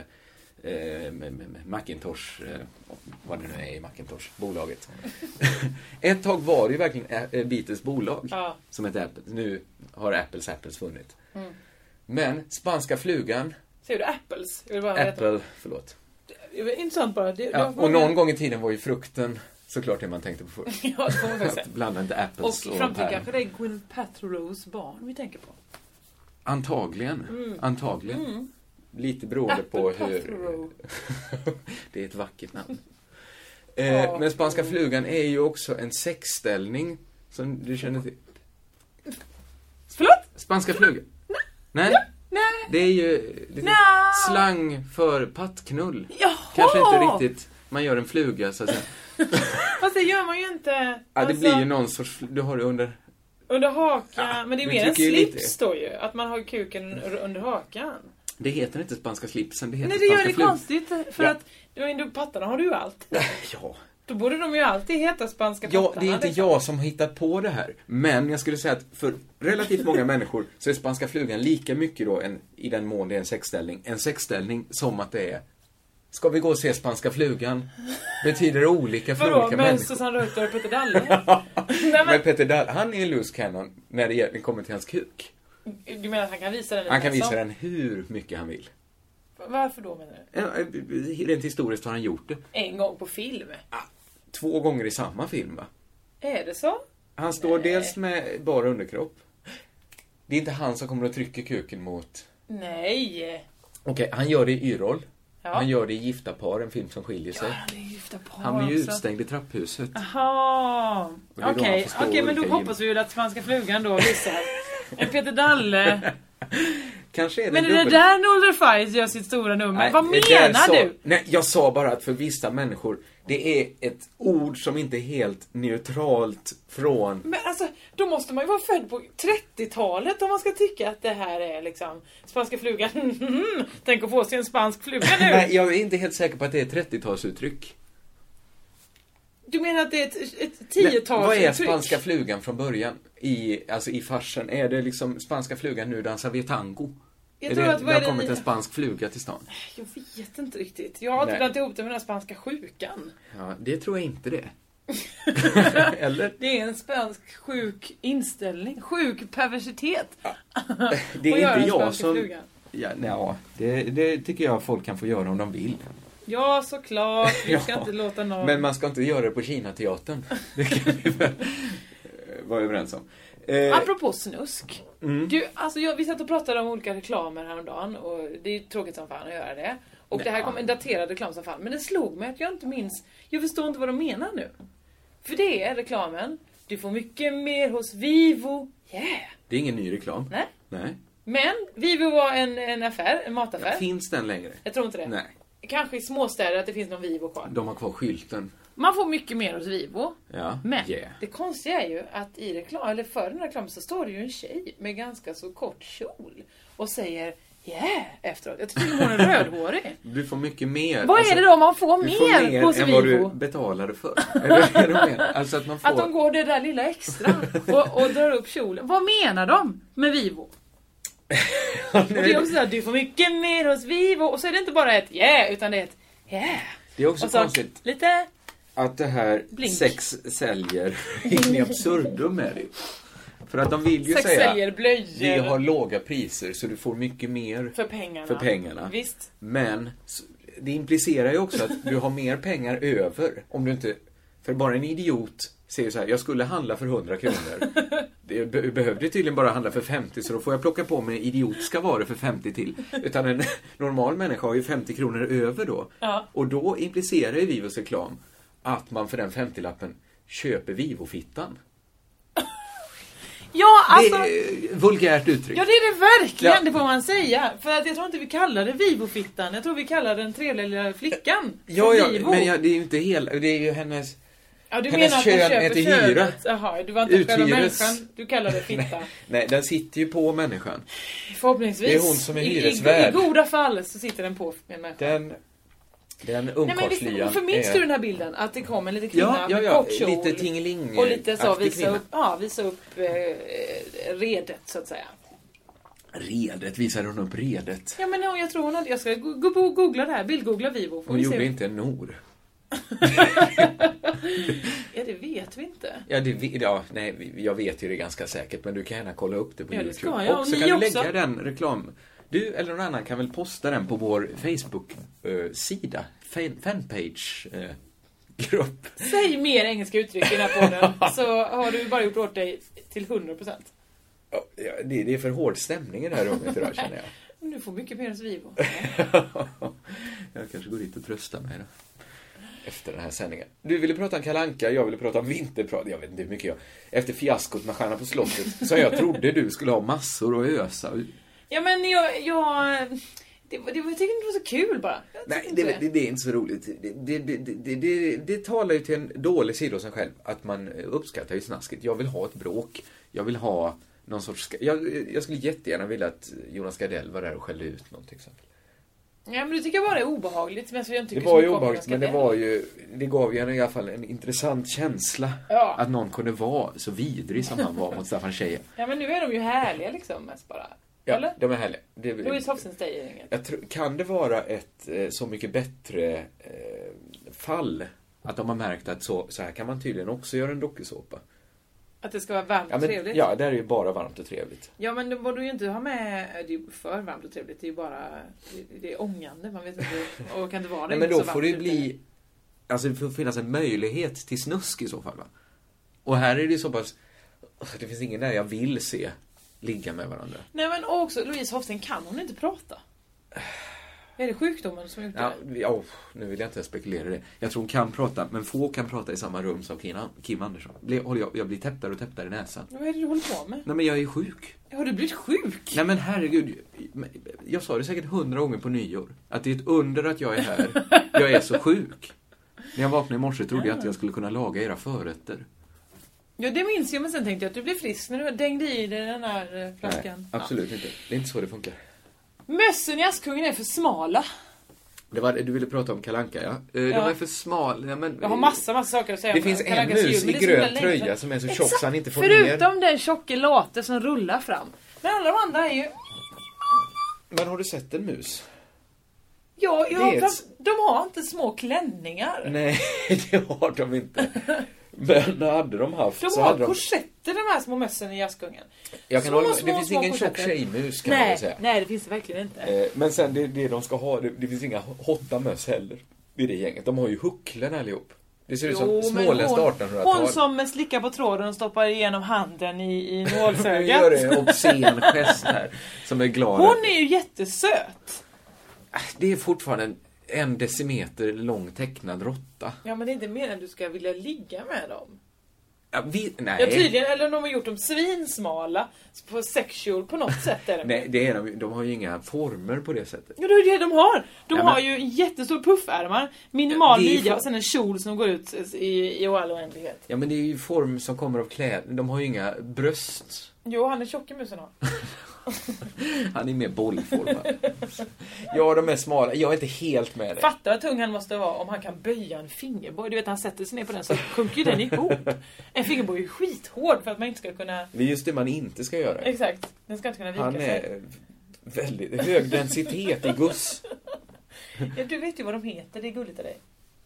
G: eh, m- m- Macintosh? Eh, vad det nu är i Macintosh, bolaget. ett tag var det ju verkligen Ä- eh, Beatles bolag
F: Ja.
G: som hette Apple. Nu har Apples Apples funnit.
F: Mm.
G: Men spanska flugan,
F: Säger du apples? Jag vill bara veta.
G: Apple, förlåt.
F: Det är Intressant bara. Det, det
G: Ja,
F: var-
G: och någon gång i tiden var ju frukten såklart det man tänkte på först.
F: Ja, det får man faktiskt
G: Att blanda inte Apples
F: säga. Och i framtiden
G: päron.
F: kanske det är Gwyneth Paltrows barn vi tänker på.
G: Antagligen.
F: Mm.
G: Antagligen.
F: Mm.
G: Lite beroende på hur...
F: Row.
G: Det är ett vackert namn. Eh, men Spanska flugan är ju också en sexställning som du känner till.
F: Förlåt?
G: Spanska flugan? Nej.
F: Nej.
G: Det är ju lite
F: Nej.
G: slang för pattknull.
F: Jaha!
G: Kanske inte riktigt man gör en fluga så att säga.
F: Fast det gör man ju inte.
G: Ja, det
F: Alltså,
G: blir ju någon sorts... fl- Du har det under...
F: Under hakan. men det är
G: vi
F: mer en
G: tycker ju lite-
F: slips då ju. Att man har kuken under hakan.
G: Det heter inte spanska slipsen, det heter
F: Nej det gör
G: spanska
F: det
G: flugan.
F: konstigt. För
G: Ja.
F: att du, under pattarna har du ju allt.
G: Ja.
F: Då borde de ju alltid heta spanska
G: Ja, det
F: pattarna. liksom.
G: är inte jag som har hittat på det här. Men jag skulle säga att för relativt många människor så är spanska flugan lika mycket då, en, i den mån det är en sexställning, en sexställning som att det är Ska vi gå och se spanska flugan? Betyder olika för
F: Vadå,
G: olika
F: men
G: människor.
F: Susanne Reuter och Peter Dalle? Nej,
G: Men Peter Dahl, han är en loose cannon när det gäller- kommer till hans kuk.
F: men, du menar att han kan visa den?
G: Han kan visa
F: som-
G: den hur mycket han vill.
F: Varför då menar du?
G: Ja, Rent historiskt har han gjort det.
F: En gång på film?
G: Två gånger i samma film, va?
F: Är det så?
G: Han står dels med bara underkropp. Det är inte han som kommer och trycker kuken mot...
F: Nej!
G: Okej, han gör det i Y-roll.
F: Ja.
G: Han gör det i Gifta par, en film som skiljer sig.
F: Det är gifta par
G: han blir ju
F: också. Ah.
G: utstängd i trapphuset.
F: Jaha!
G: Och det är då
F: Okej,
G: han förstår
F: okej, men då
G: olika
F: hoppas vi ju att spanska flugan då visar en Peter Dalle.
G: Kanske är det
F: Men
G: en
F: är det
G: dubbel-
F: där Nolder Fies gör sitt stora nummer?
G: Nej,
F: Vad
G: det där
F: menar
G: sa-
F: du?
G: Nej, jag sa bara att för vissa människor, det är ett ord som inte är helt neutralt från
F: Men alltså, då måste man ju vara född på 30-talet om man ska tycka att det här är liksom spanska flugan. Mm-hmm. Tänk att få sig en spansk fluga nu!
G: Nej, jag är inte helt säker på att det är ett 30-talsuttryck.
F: Du menar att det är ett, ett
G: Men Vad är
F: tiotalsuttryck?
G: spanska flugan från början? I, alltså i farsen, är det liksom spanska flugan nu dansar vi tango?
F: Jag
G: är
F: tror
G: det,
F: att- vad
G: det
F: är
G: har
F: det
G: kommit
F: ni-
G: en spansk fluga till stan?
F: Jag vet inte riktigt. Jag har inte
G: Nej.
F: blandat ihop det med den här spanska sjukan.
G: Ja, det tror jag inte det. Eller?
F: Det är en spansk sjuk inställning. Sjuk perversitet.
G: Det
F: Och göra
G: är
F: en
G: inte jag
F: spansk
G: som...
F: fluga.
G: Ja, nej, ja, det, det tycker jag folk kan få göra om de vill.
F: Ja, såklart. Vi ska
G: Ja,
F: inte låta någon...
G: Men man ska inte göra det på Kinateatern. Det kan vi väl eh, vara överens om. Eh,
F: Apropå snusk.
G: Mm.
F: Du, alltså jag, vi satt och pratade om olika reklamer häromdagen och det är ju tråkigt som fan att göra det. Och det här kom en daterad reklam som fan. Men det slog mig att jag inte minns. Jag förstår inte vad de menar nu. För det är reklamen. Du får mycket mer hos Vivo. Yeah!
G: det är ingen ny reklam.
F: Nej.
G: Nej.
F: Men Vivo var en, en affär, en mataffär.
G: Finns den längre?
F: Jag tror inte det.
G: Nej.
F: Kanske i småstäder att det finns någon Vivo kvar.
G: De har kvar skylten.
F: Man får mycket mer hos Vivo.
G: Ja.
F: Men
G: Yeah.
F: det konstiga är ju att i reklam, eller för den här reklamen så står det ju en tjej med ganska så kort kjol och säger Yeah! efteråt. Jag tycker hon är rödhårig.
G: Du får mycket mer. Alltså,
F: Vad är det då man får
G: Du
F: mer, hos
G: än vad
F: Vivo?
G: du betalade för. Eller vad är det du menar? Alltså att man får...
F: Att de går det där lilla extra och, och drar upp kjolen. Vad menar de med Vivo? Och det är också såhär, du får mycket mer hos Vivo. Och så är det inte bara ett yeah, utan det är ett yeah.
G: Det är också
F: och så
G: konstigt
F: lite
G: att det här
F: Blink.
G: sex säljer in i absurdum med det. För att de vill ju
F: sex
G: säga
F: säljer
G: vi
F: blöjor
G: har låga priser så du får mycket mer
F: för pengarna.
G: för pengarna.
F: Visst.
G: Men s- det implicerar ju också att du har mer pengar över om du inte... För bara en idiot säger så här, jag skulle handla för 100 kronor. Det be- behövde tydligen bara handla för 50 så då får jag plocka på mig idiotiska varor för 50 till. Utan en normal människa har ju 50 kronor över då.
F: Ja.
G: Och då implicerar ju Vivos reklam att man för den 50-lappen köper Vivo-fittan.
F: Ja, alltså.
G: det är eh, vulgärt uttryck.
F: Ja det är det verkligen,
G: Ja.
F: det får man säga. För att jag tror inte vi kallar det Vivo-fittan. Jag tror vi kallar den trevliga lilla flickan
G: Ja,
F: för
G: ja,
F: Vivo.
G: men ja, det är ju inte hela, det är ju hennes...
F: ja, du
G: hennes
F: menar att man
G: kön
F: köper
G: heter
F: könet.
G: hyra.
F: Jaha, du var inte själva
G: Uthyres.
F: människan. Du kallar det fitta.
G: Nej, den sitter ju på människan.
F: Förhoppningsvis.
G: Det är hon som är
F: I- I, i
G: hyresvärd.
F: goda fall så sitter den på en människa.
G: Den, den
F: Nej men
G: ungkarlslyan
F: visst, förminns
G: är-
F: du den här bilden? Att det kom en liten kvinna
G: Eh. Ja, ja,
F: med
G: ja.
F: kort kjol.
G: Lite tingeling
F: Och lite så visa
G: kvinna.
F: upp, ja, visa upp eh, redet så att säga.
G: Redet, visade hon upp redet.
F: Ja men hon- jag tror hon hade, jag ska go- go- googla det här, bildgoogla Vivo. får
G: Hon
F: vi se.
G: gjorde inte en nor.
F: Ja det vet vi inte.
G: Ja, det, vi- ja, nej, vi- jag vet ju det ganska säkert, men du kan gärna kolla upp det på
F: Ja, det
G: YouTube.
F: ska jag.
G: Och
F: Och
G: så
F: ni
G: kan
F: också.
G: du lägga den reklam... Du eller någon annan kan väl posta den på vår Facebook-sida? Fan, eh, fanpage-grupp.
F: Säg mer engelska uttryck i den här podden så har du bara gjort åt dig till 100%.
G: Ja, det, det är för hård stämning i det här rummet idag, känner jag.
F: Men Du får mycket mer än Svibo.
G: Jag kanske går dit och tröstar mig då. Efter den här sändningen. Du ville prata om Kalanka, jag ville prata om vinterprat. Jag vet inte hur mycket jag... Efter fiaskot med Stjärna på slottet, så jag trodde du skulle ha massor att ösa ur.
F: Ja men jag, jag det, var- det, var- jag tyckte inte det var så kul bara. Jag tyckte
G: Nej,
F: inte
G: det, det, det är inte så roligt. Det, det, det, det, det, det talar ju till en dålig sida hos en själv, att man eh, uppskattar ju snasket. Jag vill ha ett bråk. Jag vill ha någon sorts... ska- Jag, jag skulle jättegärna vilja att Jonas Gardell var där och skällde ut någon till exempel.
F: Ja men du tycker bara det är obehagligt. Men så jag tycker
G: Det
F: så
G: var ju
F: mycket om
G: obehagligt, men det
F: Gardell.
G: var ju... Det gav ju en, i alla fall en intressant känsla.
F: Ja.
G: Att någon kunde vara så vidrig som han var mot Staffan Scheje.
F: Ja men nu är de ju härliga liksom mest bara.
G: Ja,
F: Eller?
G: de är härliga. Det,
F: Louise Hofsten säger inget.
G: Jag tror, kan det vara ett eh, Så mycket bättre eh, fall? Att de har märkt att så, så här kan man tydligen också göra en dokusåpa.
F: Att det ska vara varmt
G: Ja,
F: och
G: men,
F: trevligt.
G: ja, där är ju bara varmt och trevligt.
F: Ja men då borde du ju inte ha med, det är ju för varmt och trevligt, det är ju bara, det, det är ångande, man vet inte, och kan inte vara det
G: Nej, men
F: inte
G: då
F: så
G: får det
F: varmt
G: ju bli... Alltså, det får finnas en möjlighet till snusk i så fall, va? Och här är det ju så pass... Det finns ingen där jag vill se ligga med varandra.
F: Nej men också Louise Hofsten, kan hon inte prata? Är det sjukdomen som har gjort
G: Ja,
F: det?
G: vi- åh, nu vill jag inte spekulera i det. Jag tror hon kan prata, men få kan prata i samma rum som Kim- Kim Andersson. Blir- håller Jag, jag blir täppt och täppt i näsan.
F: Vad är det du håller på med?
G: Nej, men jag är sjuk.
F: Har du blivit sjuk?
G: Nej men herregud, jag sa det säkert hundra gånger på nyår. Att det är ett under att jag är här. Jag är så sjuk. När jag vaknade i morse trodde jag att jag skulle kunna laga era förrätter.
F: Ja det minns jag men sen tänkte jag att du blev frisk när du dängde i dig den här eh, flaskan.
G: Nej, absolut inte. Det är inte så det funkar.
F: Mössen i Askungen är för smala.
G: Det var, du ville prata om Kalanka ja. Eh, De
F: Ja.
G: är för smala. Ja, men,
F: Jag har massa, massa saker att säga
G: Det
F: om
G: finns
F: Kalle
G: en
F: Ankas jul,
G: mus
F: men
G: i
F: det är så
G: grön
F: himla länge sedan.
G: tröja som är så tjock så han inte får
F: Förutom den tjocke late som rullar fram. Men alla de andra är ju...
G: ner. Men har du sett en mus?
F: Ja, ja
G: Det är
F: de,
G: ett-
F: de har inte små klänningar.
G: Nej, det har de inte. Men hade de haft
F: De
G: så
F: har
G: hade de...
F: korsetter de här små mössen i Askungen.
G: Jag kan
F: små,
G: hålla med.
F: små,
G: Det finns
F: små
G: ingen tjock
F: korsetter.
G: tjejmus kan man
F: nej,
G: väl säga.
F: Nej, det finns det verkligen inte.
G: Eh, Men sen det, det de ska ha, det, det finns inga hotta möss heller i det gänget. De har ju hucklen allihop. Det ser ut som småländskt
F: hon,
G: 1800-tal.
F: hon som slickar på tråden och stoppar igenom handen i, i
G: Nu gör
F: nålsögat.
G: du en obscen gest här. Som är glad.
F: hon är ju jättesöt.
G: att- Det är fortfarande en, en decimeter lång tecknad råtta.
F: Ja, men det är inte mer än du ska vilja ligga med dem.
G: Ja, vi, nej.
F: Ja, tydligen, eller de har gjort dem svinsmala på sexual på något sätt. Är det.
G: nej det är de, ju- de har ju inga former på det sättet.
F: Ja, det är det de har! De
G: Ja, men-
F: har ju en jättestor puffärmar, minimal
G: Det är ju
F: midja
G: för-
F: och sen en kjol som går ut i, i all oändlighet.
G: Ja men det är ju form som kommer av kläder. De har ju inga bröst.
F: Jo, han är tjock i musen har.
G: Han är mer bollformad. ja de är smala. Jag är inte helt med dig.
F: Fattar vad tung han måste vara om han kan böja en fingerborg. Du vet, han sätter sig ner på den så sjunker ju den ihop. En fingerborg är ju skithård för att man inte ska kunna...
G: Det är just det man inte ska göra.
F: Exakt, den ska inte kunna vika
G: Han
F: sig.
G: är väldigt hög densitet i Guss.
F: Ja, du vet ju vad de heter, det är gulligt av dig.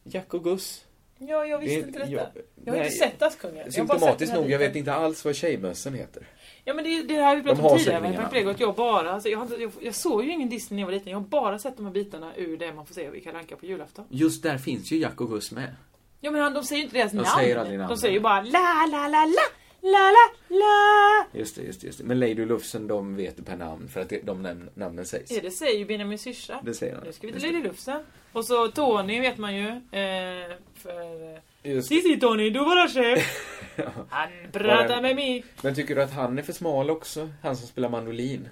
G: Jack och Guss.
F: Ja, jag visste
G: Det-
F: inte detta. Jag,
G: jag-
F: har
G: nej.
F: inte sett Askungen. Jag har bara sett den
G: Symptomatiskt
F: här
G: nog, jag
F: biten.
G: vet inte alls vad tjejmössen heter.
F: Ja men det, det här har vi pratat
G: har
F: om
G: säkert
F: tidigare,
G: ingen
F: Perfect
G: annan.
F: Lego, att jag bara, alltså, jag, har inte- jag, jag såg ju ingen Disney när jag var liten, jag har bara sett de här bitarna ur det man får se i Kalle Anka på julafton.
G: Just där finns ju Jack och Guss med.
F: Ja men han, de säger ju inte deras namn.
G: säger aldrig namn.
F: De säger ju bara la la la la, la la la.
G: Just det, just det. Just det. Men Lady Lufsen, de vet du per namn för att det- de namn, namnen sägs.
F: Ja det säger ju Benjamin syrsa.
G: Det säger han.
F: Nu ska vi till
G: Just det.
F: Lady Lufsen. Och så Tony vet man ju. Eh, för... eh,
G: Just det.
F: Sissi Tony, du var chef. Han pratar med mig.
G: Men tycker du att han är för smal också? Han som spelar mandolin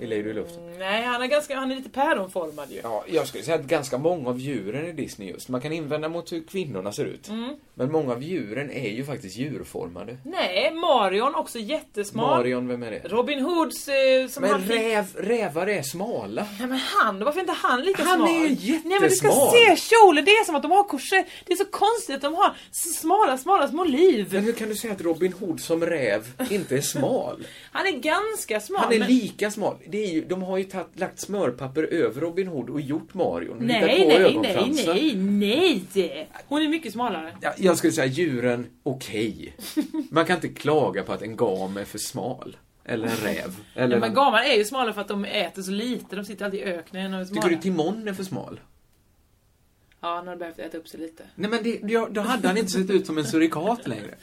G: i Lady Lufsen.
F: Nej han är ganska, han är lite päronformad ju.
G: Ja, jag skulle säga att ganska många av djuren i Disney just. Man kan invända mot hur kvinnorna ser ut.
F: Mm.
G: Men många av djuren är ju faktiskt djurformade.
F: Nej, Marion också jättesmal.
G: Marion, vem är det?
F: Robin Hoods eh, som
G: Men
F: han fick-
G: räv, rävar är smala.
F: Nej men han, varför är inte han lika
G: Han
F: smal?
G: är
F: Nej men du ska
G: jättesmal.
F: se kjolen, det är som att de har korsett. Det är så konstigt att de har så smala, smala små liv.
G: Men hur kan du säga att Robin Hood som räv inte är smal?
F: Han är ganska smal.
G: Han är
F: men...
G: lika smal. Det är ju, de har ju tagit, lagt smörpapper över Robin Hood och gjort Marion.
F: Nej,
G: Hittat på
F: nej, nej,
G: ögonfransar.
F: nej, nej! Hon är mycket smalare.
G: Ja, Jag skulle säga djuren, okej. Man kan inte klaga på att en gam är för smal. Eller en räv. Eller
F: Nej, men
G: en...
F: gamar är ju smala för att de äter så lite. De sitter alltid i öknen och är smala.
G: Tycker du Timon är för smal?
F: Ja, han har behövt äta upp sig lite.
G: Nej men det, ja, då hade han inte sett ut som en surikat längre.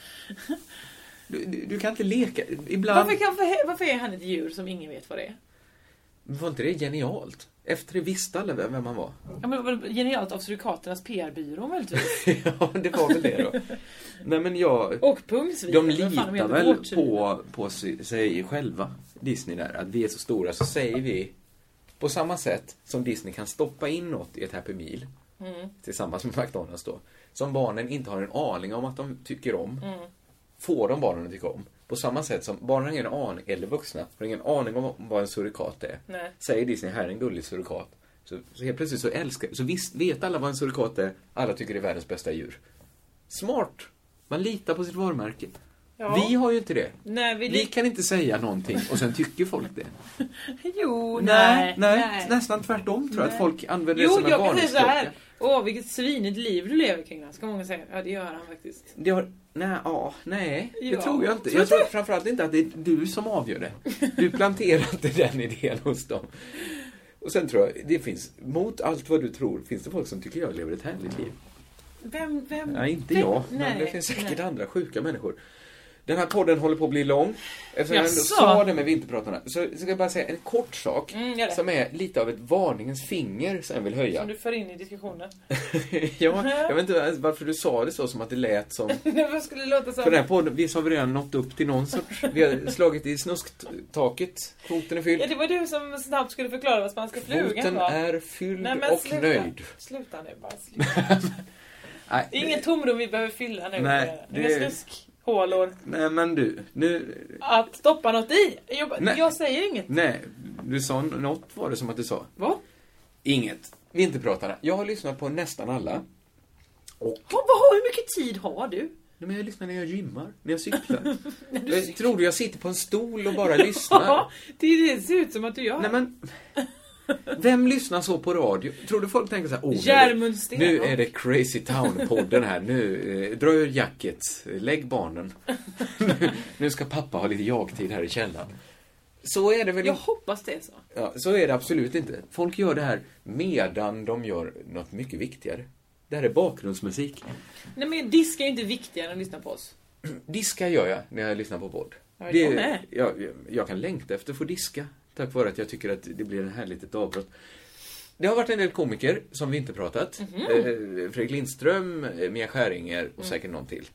G: Du, du, du kan inte leka. Ibland...
F: Varför, kan, varför är han ett djur som ingen vet vad det är?
G: Var inte det genialt? Efter det visste alla vem vem han var.
F: Ja, men det var genialt av surikaternas PR-byrå möjligtvis.
G: ja, det var väl det då. Nej men jag...
F: Och pungsvin.
G: De litar väl på, på si- sig själva, Disney där. Att vi är så stora så säger vi på samma sätt som Disney kan stoppa in något i ett Happy Meal
F: Mm.
G: tillsammans med McDonalds då. Som barnen inte har en aning om att de tycker om.
F: Mm.
G: Får de barnen att tycka om. På samma sätt som barnen har ingen aning, eller vuxna, har ingen aning om vad en surikat är.
F: Nej.
G: Säger Disney, här är en gullig surikat. Så, så helt plötsligt så älskar, så visst, vet alla vad en surikat är. Alla tycker det är världens bästa djur. Smart! Man litar på sitt varumärke.
F: Ja.
G: Vi har ju inte det.
F: Nej, vi
G: Vi kan inte säga någonting och sen tycker folk det.
F: Jo, nej.
G: nej, nästan tvärtom tror jag att folk använder
F: Jo,
G: det som en
F: jag kan säga så här.
G: varningsklocka.
F: Åh, vilket svinigt liv du lever kring Ska många säga. Ja, det gör han faktiskt.
G: Det har, nej, ja, nej,
F: Ja.
G: det tror jag inte.
F: Tror
G: Jag tror
F: du?
G: framförallt inte att det är du som avgör det. Du planterar inte den idén hos dem. Och sen tror jag, det finns, mot allt vad du tror, finns det folk som tycker jag lever ett härligt liv.
F: Vem, vem?
G: Nej, inte
F: vem?
G: jag, men
F: Nej,
G: det finns säkert
F: nej.
G: andra sjuka människor. Den här podden håller på att bli lång. Eftersom jag ändå
F: Jaså?
G: sa det med vinterpratarna, så ska jag bara säga en kort sak
F: Mm, gör det.
G: som är lite av ett varningens finger som jag vill höja.
F: Som du Mm. för in i diskussionen.
G: ja, jag vet inte ens varför du sa det så, som att det lät som
F: Nej, Vad skulle det låta som?
G: För den här podden, visst har vi redan nått upp till någon sorts... Vi har slagit i snusktaket. Kvoten är fylld.
F: Ja, det var du som snabbt skulle förklara vad spanska flugan
G: Kvoten
F: var.
G: är fylld
F: Nej, men
G: och
F: sluta.
G: nöjd.
F: Sluta nu bara. Sluta.
G: Nej,
F: Det är inget tomrum vi behöver fylla nu.
G: Nej,
F: Inga
G: det-
F: snuskhålor
G: nej men du, nu...
F: att stoppa något i. Jag, bara-
G: Nej.
F: jag säger inget.
G: Nej, du sa något var det som att du sa.
F: Vad?
G: Inget. Vi inte pratar. Jag har lyssnat på nästan alla.
F: Vad- vad- Hur mycket tid har du?
G: Nej, men jag lyssnar när jag gymmar, när jag cyklar. jag tror du jag sitter på en stol och bara lyssnar?
F: Ja, det, det ser ut som att du gör.
G: Nej, men... Vem lyssnar så på radio? Tror du folk tänker så här, oh, nu är det-
F: Järmund
G: Nu
F: Stenhoff.
G: är det Crazy Town-podden här. Nu, eh, dra ur jacket, lägg barnen. nu, nu ska pappa ha lite jag-tid här i källaren. Så är det väl
F: Jag
G: inte?
F: hoppas det är så.
G: Ja, så är det absolut inte. Folk gör det här medan de gör något mycket viktigare. Det här är bakgrundsmusik.
F: Nej men disk är ju inte viktigare än att lyssna på oss.
G: Diska gör jag när jag lyssnar på podd.
F: Ja,
G: Det-
F: jag med.
G: jag, jag, jag kan längta efter att få diska. Tack vare att jag tycker att det blir en härligt ett avbrott. Det har varit en del komiker som vi inte pratat.
F: Mhm.
G: Eh, Fredrik Lindström, eh, Mia Skäringer och
F: Mm.
G: säkert någon till.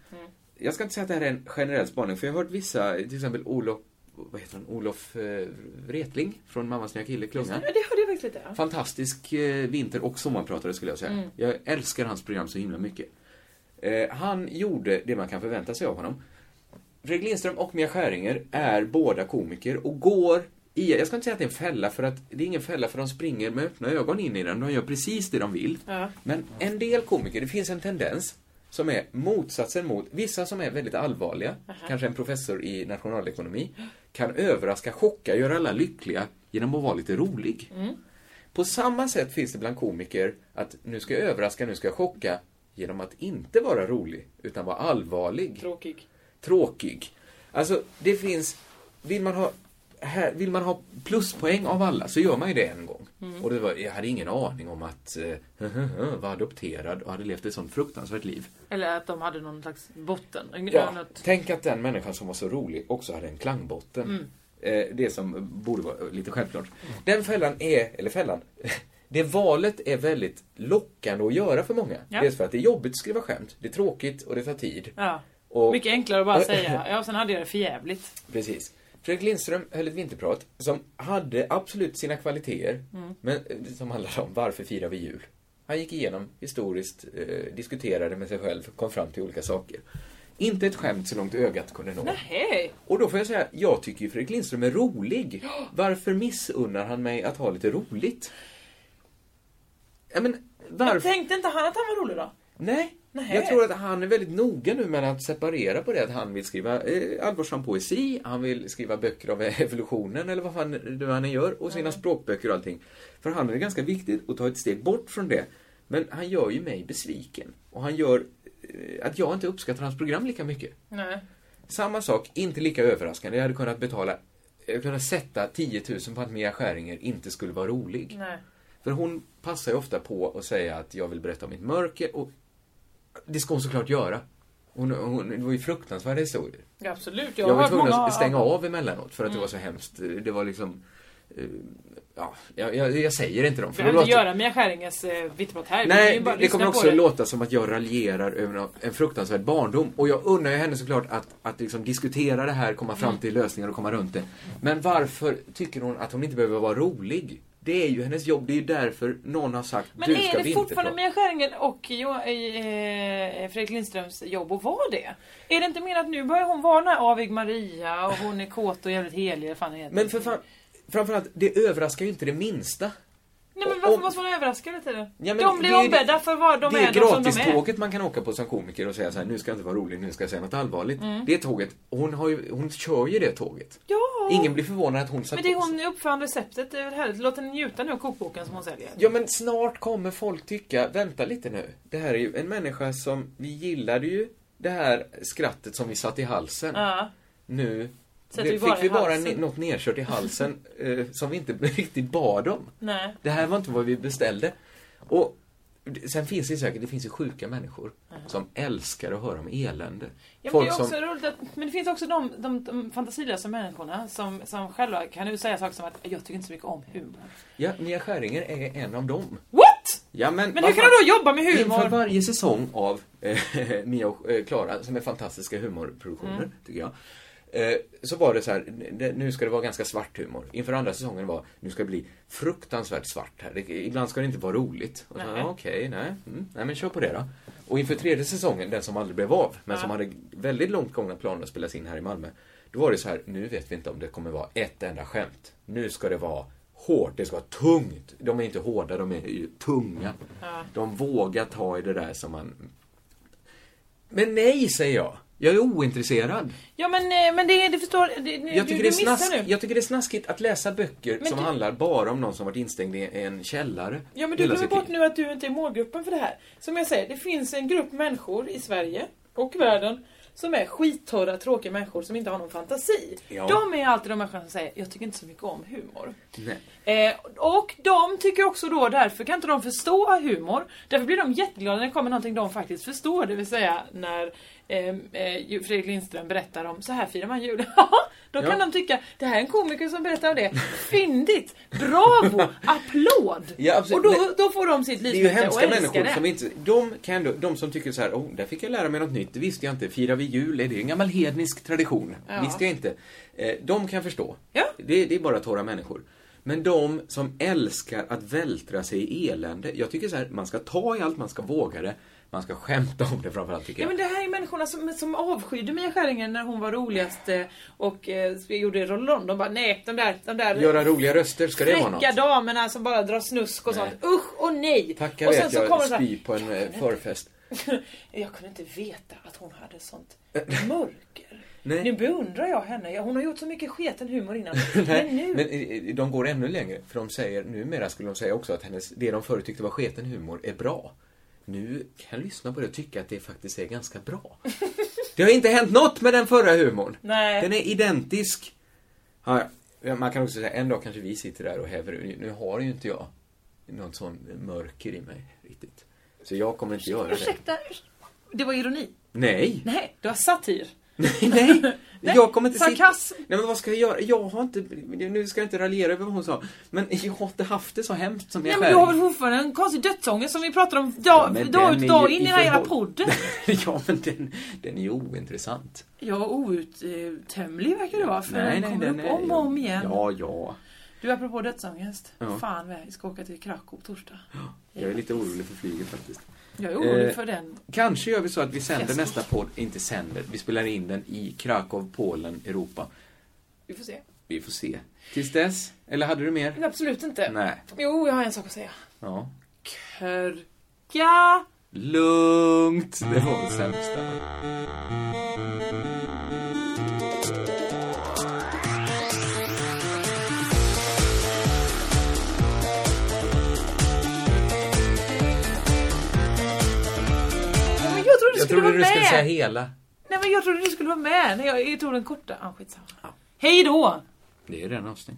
G: Jag ska inte säga att det här är en generell spaning, för jag har hört vissa, till exempel Olof, vad heter han, Olof eh, Wretling från Mammas nya kille,
F: Ja,
G: Klungan.
F: det hörde jag faktiskt lite. Ja.
G: Fantastisk eh, vinter och sommarpratare skulle jag säga.
F: Mm.
G: Jag älskar hans program så himla mycket. Eh, han gjorde det man kan förvänta sig av honom. Fredrik Lindström och Mia Skäringer är båda komiker och går i, jag ska inte säga att det är en fälla för att det är ingen fälla för de springer med öppna ögon in i den. De gör precis det de vill.
F: Ja.
G: Men en del komiker, det finns en tendens som är motsatsen mot, vissa som är väldigt allvarliga, kanske en professor i nationalekonomi, kan överraska, chocka, göra alla lyckliga genom att vara lite rolig. På samma sätt finns det bland komiker att nu ska jag överraska, nu ska jag chocka genom att inte vara rolig, utan vara allvarlig.
F: Tråkig.
G: Tråkig. Alltså, det finns... Vill man ha, här, vill man ha pluspoäng av alla så gör man ju det en gång.
F: Mm.
G: Och det var, jag hade ingen aning om att eh, var adopterad och hade levt ett sånt fruktansvärt liv.
F: Eller att de hade någon slags botten. En-
G: Ja,
F: något-
G: tänk att den människan som var så rolig också hade en klangbotten.
F: Mm.
G: Eh, det som borde vara lite självklart. Den fällan är, eller fällan, det valet är väldigt lockande att göra för många.
F: Ja.
G: Dels för att det är jobbigt att skriva skämt, det är tråkigt och det tar tid.
F: Ja.
G: Och-
F: Mycket enklare att bara säga. Ja, sen hade jag det för jävligt.
G: Precis. Fredrik Lindström höll ett vinterprat som hade absolut sina kvaliteter,
F: Mm.
G: men eh, som handlade om varför firar vi jul? Han gick igenom historiskt, eh, diskuterade med sig själv, kom fram till olika saker. Inte ett skämt så långt ögat kunde nå.
F: Hej!
G: Och då får jag säga, jag tycker ju Fredrik Lindström är rolig. Varför missunnar han mig att ha lite roligt? Ja, men
F: Men
G: varför?
F: tänkte inte han att han var rolig då?
G: Nej.
F: Nej.
G: Jag tror att han är väldigt noga nu med att separera på det att han vill skriva eh, allvarsam poesi, han vill skriva böcker av evolutionen eller vad fan nu han än gör och sina språkböcker och allting. För han är det ganska viktigt att ta ett steg bort från det. Men han gör ju mig besviken. Och han gör eh, att jag inte uppskattar hans program lika mycket.
F: Nej.
G: Samma sak, inte lika överraskande. Jag hade kunnat betala, jag hade kunnat sätta 10 000 på att Mia Skäringer inte skulle vara rolig.
F: Nej.
G: För hon passar ju ofta på att säga att jag vill berätta om mitt mörker och det ska hon såklart göra. Hon, hon, det var ju fruktansvärda historier.
F: Ja, absolut.
G: Jag,
F: Jag, har
G: var
F: hört
G: tvungen
F: många Mm.
G: att stänga av emellanåt för att det var så hemskt. Det var liksom eh, Ja, jag, jag, jag säger inte dem.
F: Vi
G: För
F: behöver
G: då
F: inte
G: låter,
F: göra Mia Skäringers eh, vittprat här. Vi kan ju
G: nej,
F: bara
G: det, det kommer
F: lyssna på
G: också
F: det.
G: låta som att jag raljerar över en- en fruktansvärd barndom. Och jag unnar ju henne såklart att, att liksom diskutera det här, komma
F: Mm.
G: fram till lösningar och komma runt det. Men varför tycker hon att hon inte behöver vara rolig? Det är ju hennes jobb, det är ju därför någon har sagt
F: Men
G: du ska
F: är det fortfarande
G: vinterprata.
F: Mia Skäringer och jo, eh, Fredrik Lindströms jobb att vara det? Är det inte mer att nu börjar hon vara den här avig Maria och hon är kåt och jävligt helig eller fan heter.
G: Men för fan, framförallt, det överraskar ju inte det minsta.
F: Nej men varför måste man vara överraskad hela tiden?
G: Ja, men
F: de
G: det
F: blir
G: är ju-
F: ombedda för vad de
G: det
F: är,
G: är
F: de som de är.
G: gratiståget man kan åka på som komiker och säga så här, nu ska jag inte vara rolig, nu ska jag säga något allvarligt.
F: Mm.
G: Det tåget, hon, har ju, hon kör ju det tåget.
F: Ja.
G: Ingen blir förvånad att hon satt
F: Men det är
G: på sig.
F: hon uppfann receptet, det är väl härligt. Låt henne njuta nu av kokboken som hon säljer.
G: Ja men snart kommer folk tycka, vänta lite nu. Det här är ju en människa som, vi gillade ju det här skrattet som vi satt i halsen.
F: Ja.
G: Nu
F: Sätter
G: det,
F: vi
G: fick
F: bara i
G: vi bara
F: halsen.
G: ne- något nedkört i halsen eh, som vi inte riktigt bad om.
F: Nej.
G: Det här var inte vad vi beställde. Och d- sen finns det säkert, det finns ju sjuka människor som älskar att höra om elände.
F: Ja, men, det
G: Folk
F: är också
G: som,
F: roligt att, men det finns också de, de, de fantasilösa människorna som, som själva kan ju säga saker som att jag tycker inte så mycket om humor.
G: ja, Mia Skäringer är en av dem.
F: What?
G: Ja, men,
F: Men hur
G: vad
F: kan
G: fan?
F: du då jobba med humor?
G: Inför varje säsong av eh, Mia och eh, Klara, som är fantastiska humorproduktioner,
F: Mm.
G: tycker jag. Eh, så var det så här, n- det- nu ska det vara ganska svart humor. Inför andra säsongen var, nu ska det bli fruktansvärt svart här. Det, ibland ska det inte vara roligt. Och så,
F: Nej.
G: ja, Okej, nej. Mm, nej men kör på det då. Och inför tredje säsongen, den som aldrig blev av, men
F: Ja.
G: som hade väldigt långt gångna planer att spelas in här i Malmö. Då var det så här, nu vet vi inte om det kommer vara ett enda skämt. Nu ska det vara hårt, det ska vara tungt. De är inte hårda, de är ju tunga.
F: Ja.
G: De vågar ta i det där som man... Men nej, säger jag. Jag är ointresserad.
F: Ja men, eh, men det, det förstår det, det,
G: Jag tycker,
F: du,
G: det är
F: du missar
G: snask...
F: nu.
G: jag tycker det är snaskigt att läsa böcker
F: Men
G: som
F: du-
G: handlar bara om någon som varit instängd i en källare.
F: Ja men du
G: hela
F: glömmer
G: sitt liv.
F: bort nu att du inte är målgruppen för det här. Som jag säger, det finns en grupp människor i Sverige och världen som är skittorra, tråkiga människor som inte har någon fantasi.
G: Ja.
F: De är alltid de människorna som säger jag tycker inte så mycket om humor.
G: Nej.
F: Eh, och de tycker också då, därför kan inte de förstå humor. Därför blir de jätteglada när det kommer någonting de faktiskt förstår. Det vill säga när eh, eh, Fredrik Lindström berättar om så här firar man jul. då kan
G: Ja.
F: de tycka, det här är en komiker som berättar om det. Fyndigt! Bravo! Applåd!
G: Ja, absolut.
F: och då,
G: Nej.
F: då får de sitt
G: Det är ju
F: livsbyte och
G: hemska
F: älskar
G: människor
F: det.
G: som inte... De, kan ändå, de som tycker så här, oh, där fick jag lära mig något nytt, det visste jag inte. Firar vi jul? Är det en gammal hednisk tradition?
F: Ja.
G: Visste jag inte. Eh, de kan förstå. Det, det är bara torra människor. Men de som älskar att vältra sig i elände. Jag tycker så här, man ska ta i allt, man ska våga det. Man ska skämta om det framförallt, tycker
F: Ja,
G: jag.
F: men det här är människorna som, som avskydde Mia Skäringer när hon var roligast eh, och eh, gjorde Roll De bara, nej, de där, de där
G: Göra roliga röster, ska det vara något?
F: fräcka damerna som bara drar snusk och sånt. Usch och nej!
G: Tacka
F: och
G: vet jag
F: kommer det så här,
G: spy på en eh,
F: inte."
G: förfest.
F: jag kunde inte veta att hon hade sånt mörker.
G: Nej.
F: Nu beundrar jag henne. Ja, Hon har gjort så mycket sketen humor innan. men
G: Nej,
F: nu...
G: men eh, de går ännu längre. För de säger, numera skulle de säga också att hennes, det de förut tyckte var sketen humor är bra. Nu kan jag lyssna på det och tycka att det faktiskt är ganska bra. Det har inte hänt något med den förra humorn.
F: Nej.
G: Den är identisk. Ja, ja, man kan också säga, en dag kanske vi sitter där och häver ur. Nu har ju inte jag något sånt mörker i mig riktigt. Så jag kommer inte göra det.
F: Ursäkta. Det var ironi.
G: Nej.
F: Nej, det var satir.
G: Jag kommer inte
F: sarkasm.
G: sitta... Nej men vad ska jag göra? Jag har inte... Nu ska jag inte raljera över vad hon sa. Men jag har inte haft det så hemskt som jag
F: Nej men du
G: själv.
F: har väl fortfarande en konstig dödsångest som vi pratar om dag,
G: men
F: dag
G: den
F: ut
G: är
F: dag
G: ju
F: in i
G: i
F: den här jävla
G: förhåll-
F: podden.
G: ja men den, den är ju ointressant.
F: Ja, outtömlig verkar det vara för den kommer upp
G: är-
F: om och om igen.
G: Ja, ja.
F: Du apropå dödsångest.
G: Ja.
F: Fan vad jag ska åka till Krakow torsdag.
G: Jag är lite orolig för flyget faktiskt.
F: Jag är orolig
G: Eh,
F: för den.
G: Kanske gör vi så att vi sänder
F: Fest.
G: nästa podd, inte sänder, vi spelar in den i Krakow, Polen, Europa.
F: Vi får se.
G: Vi får se. Tills dess, eller hade du mer?
F: Men absolut inte.
G: Nej.
F: Jo, jag har en sak att säga.
G: Ja.
F: Körka!
G: Lugnt! Det var det sämsta.
F: Nej, men jag trodde du
G: Jag
F: skulle
G: trodde
F: vara
G: du skulle
F: med!
G: säga hela.
F: Nej men jag trodde du skulle vara med när jag, jag tog den korta. Ah, skitsamma. Hej då!
G: Det är redan avsnitt.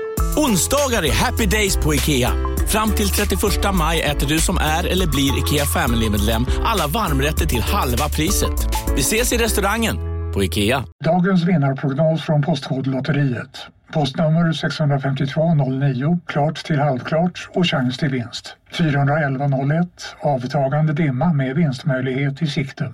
A: Onsdagar är happy days på IKEA. Fram till 31 maj äter du som är eller blir IKEA Family-medlem alla varmrätter till halva priset. Vi ses i restaurangen på IKEA.
M: Dagens vinnarprognos från Postkodlotteriet. Postnummer 65209, klart till halvklart och chans till vinst. 41101, avtagande dimma med vinstmöjlighet i sikte.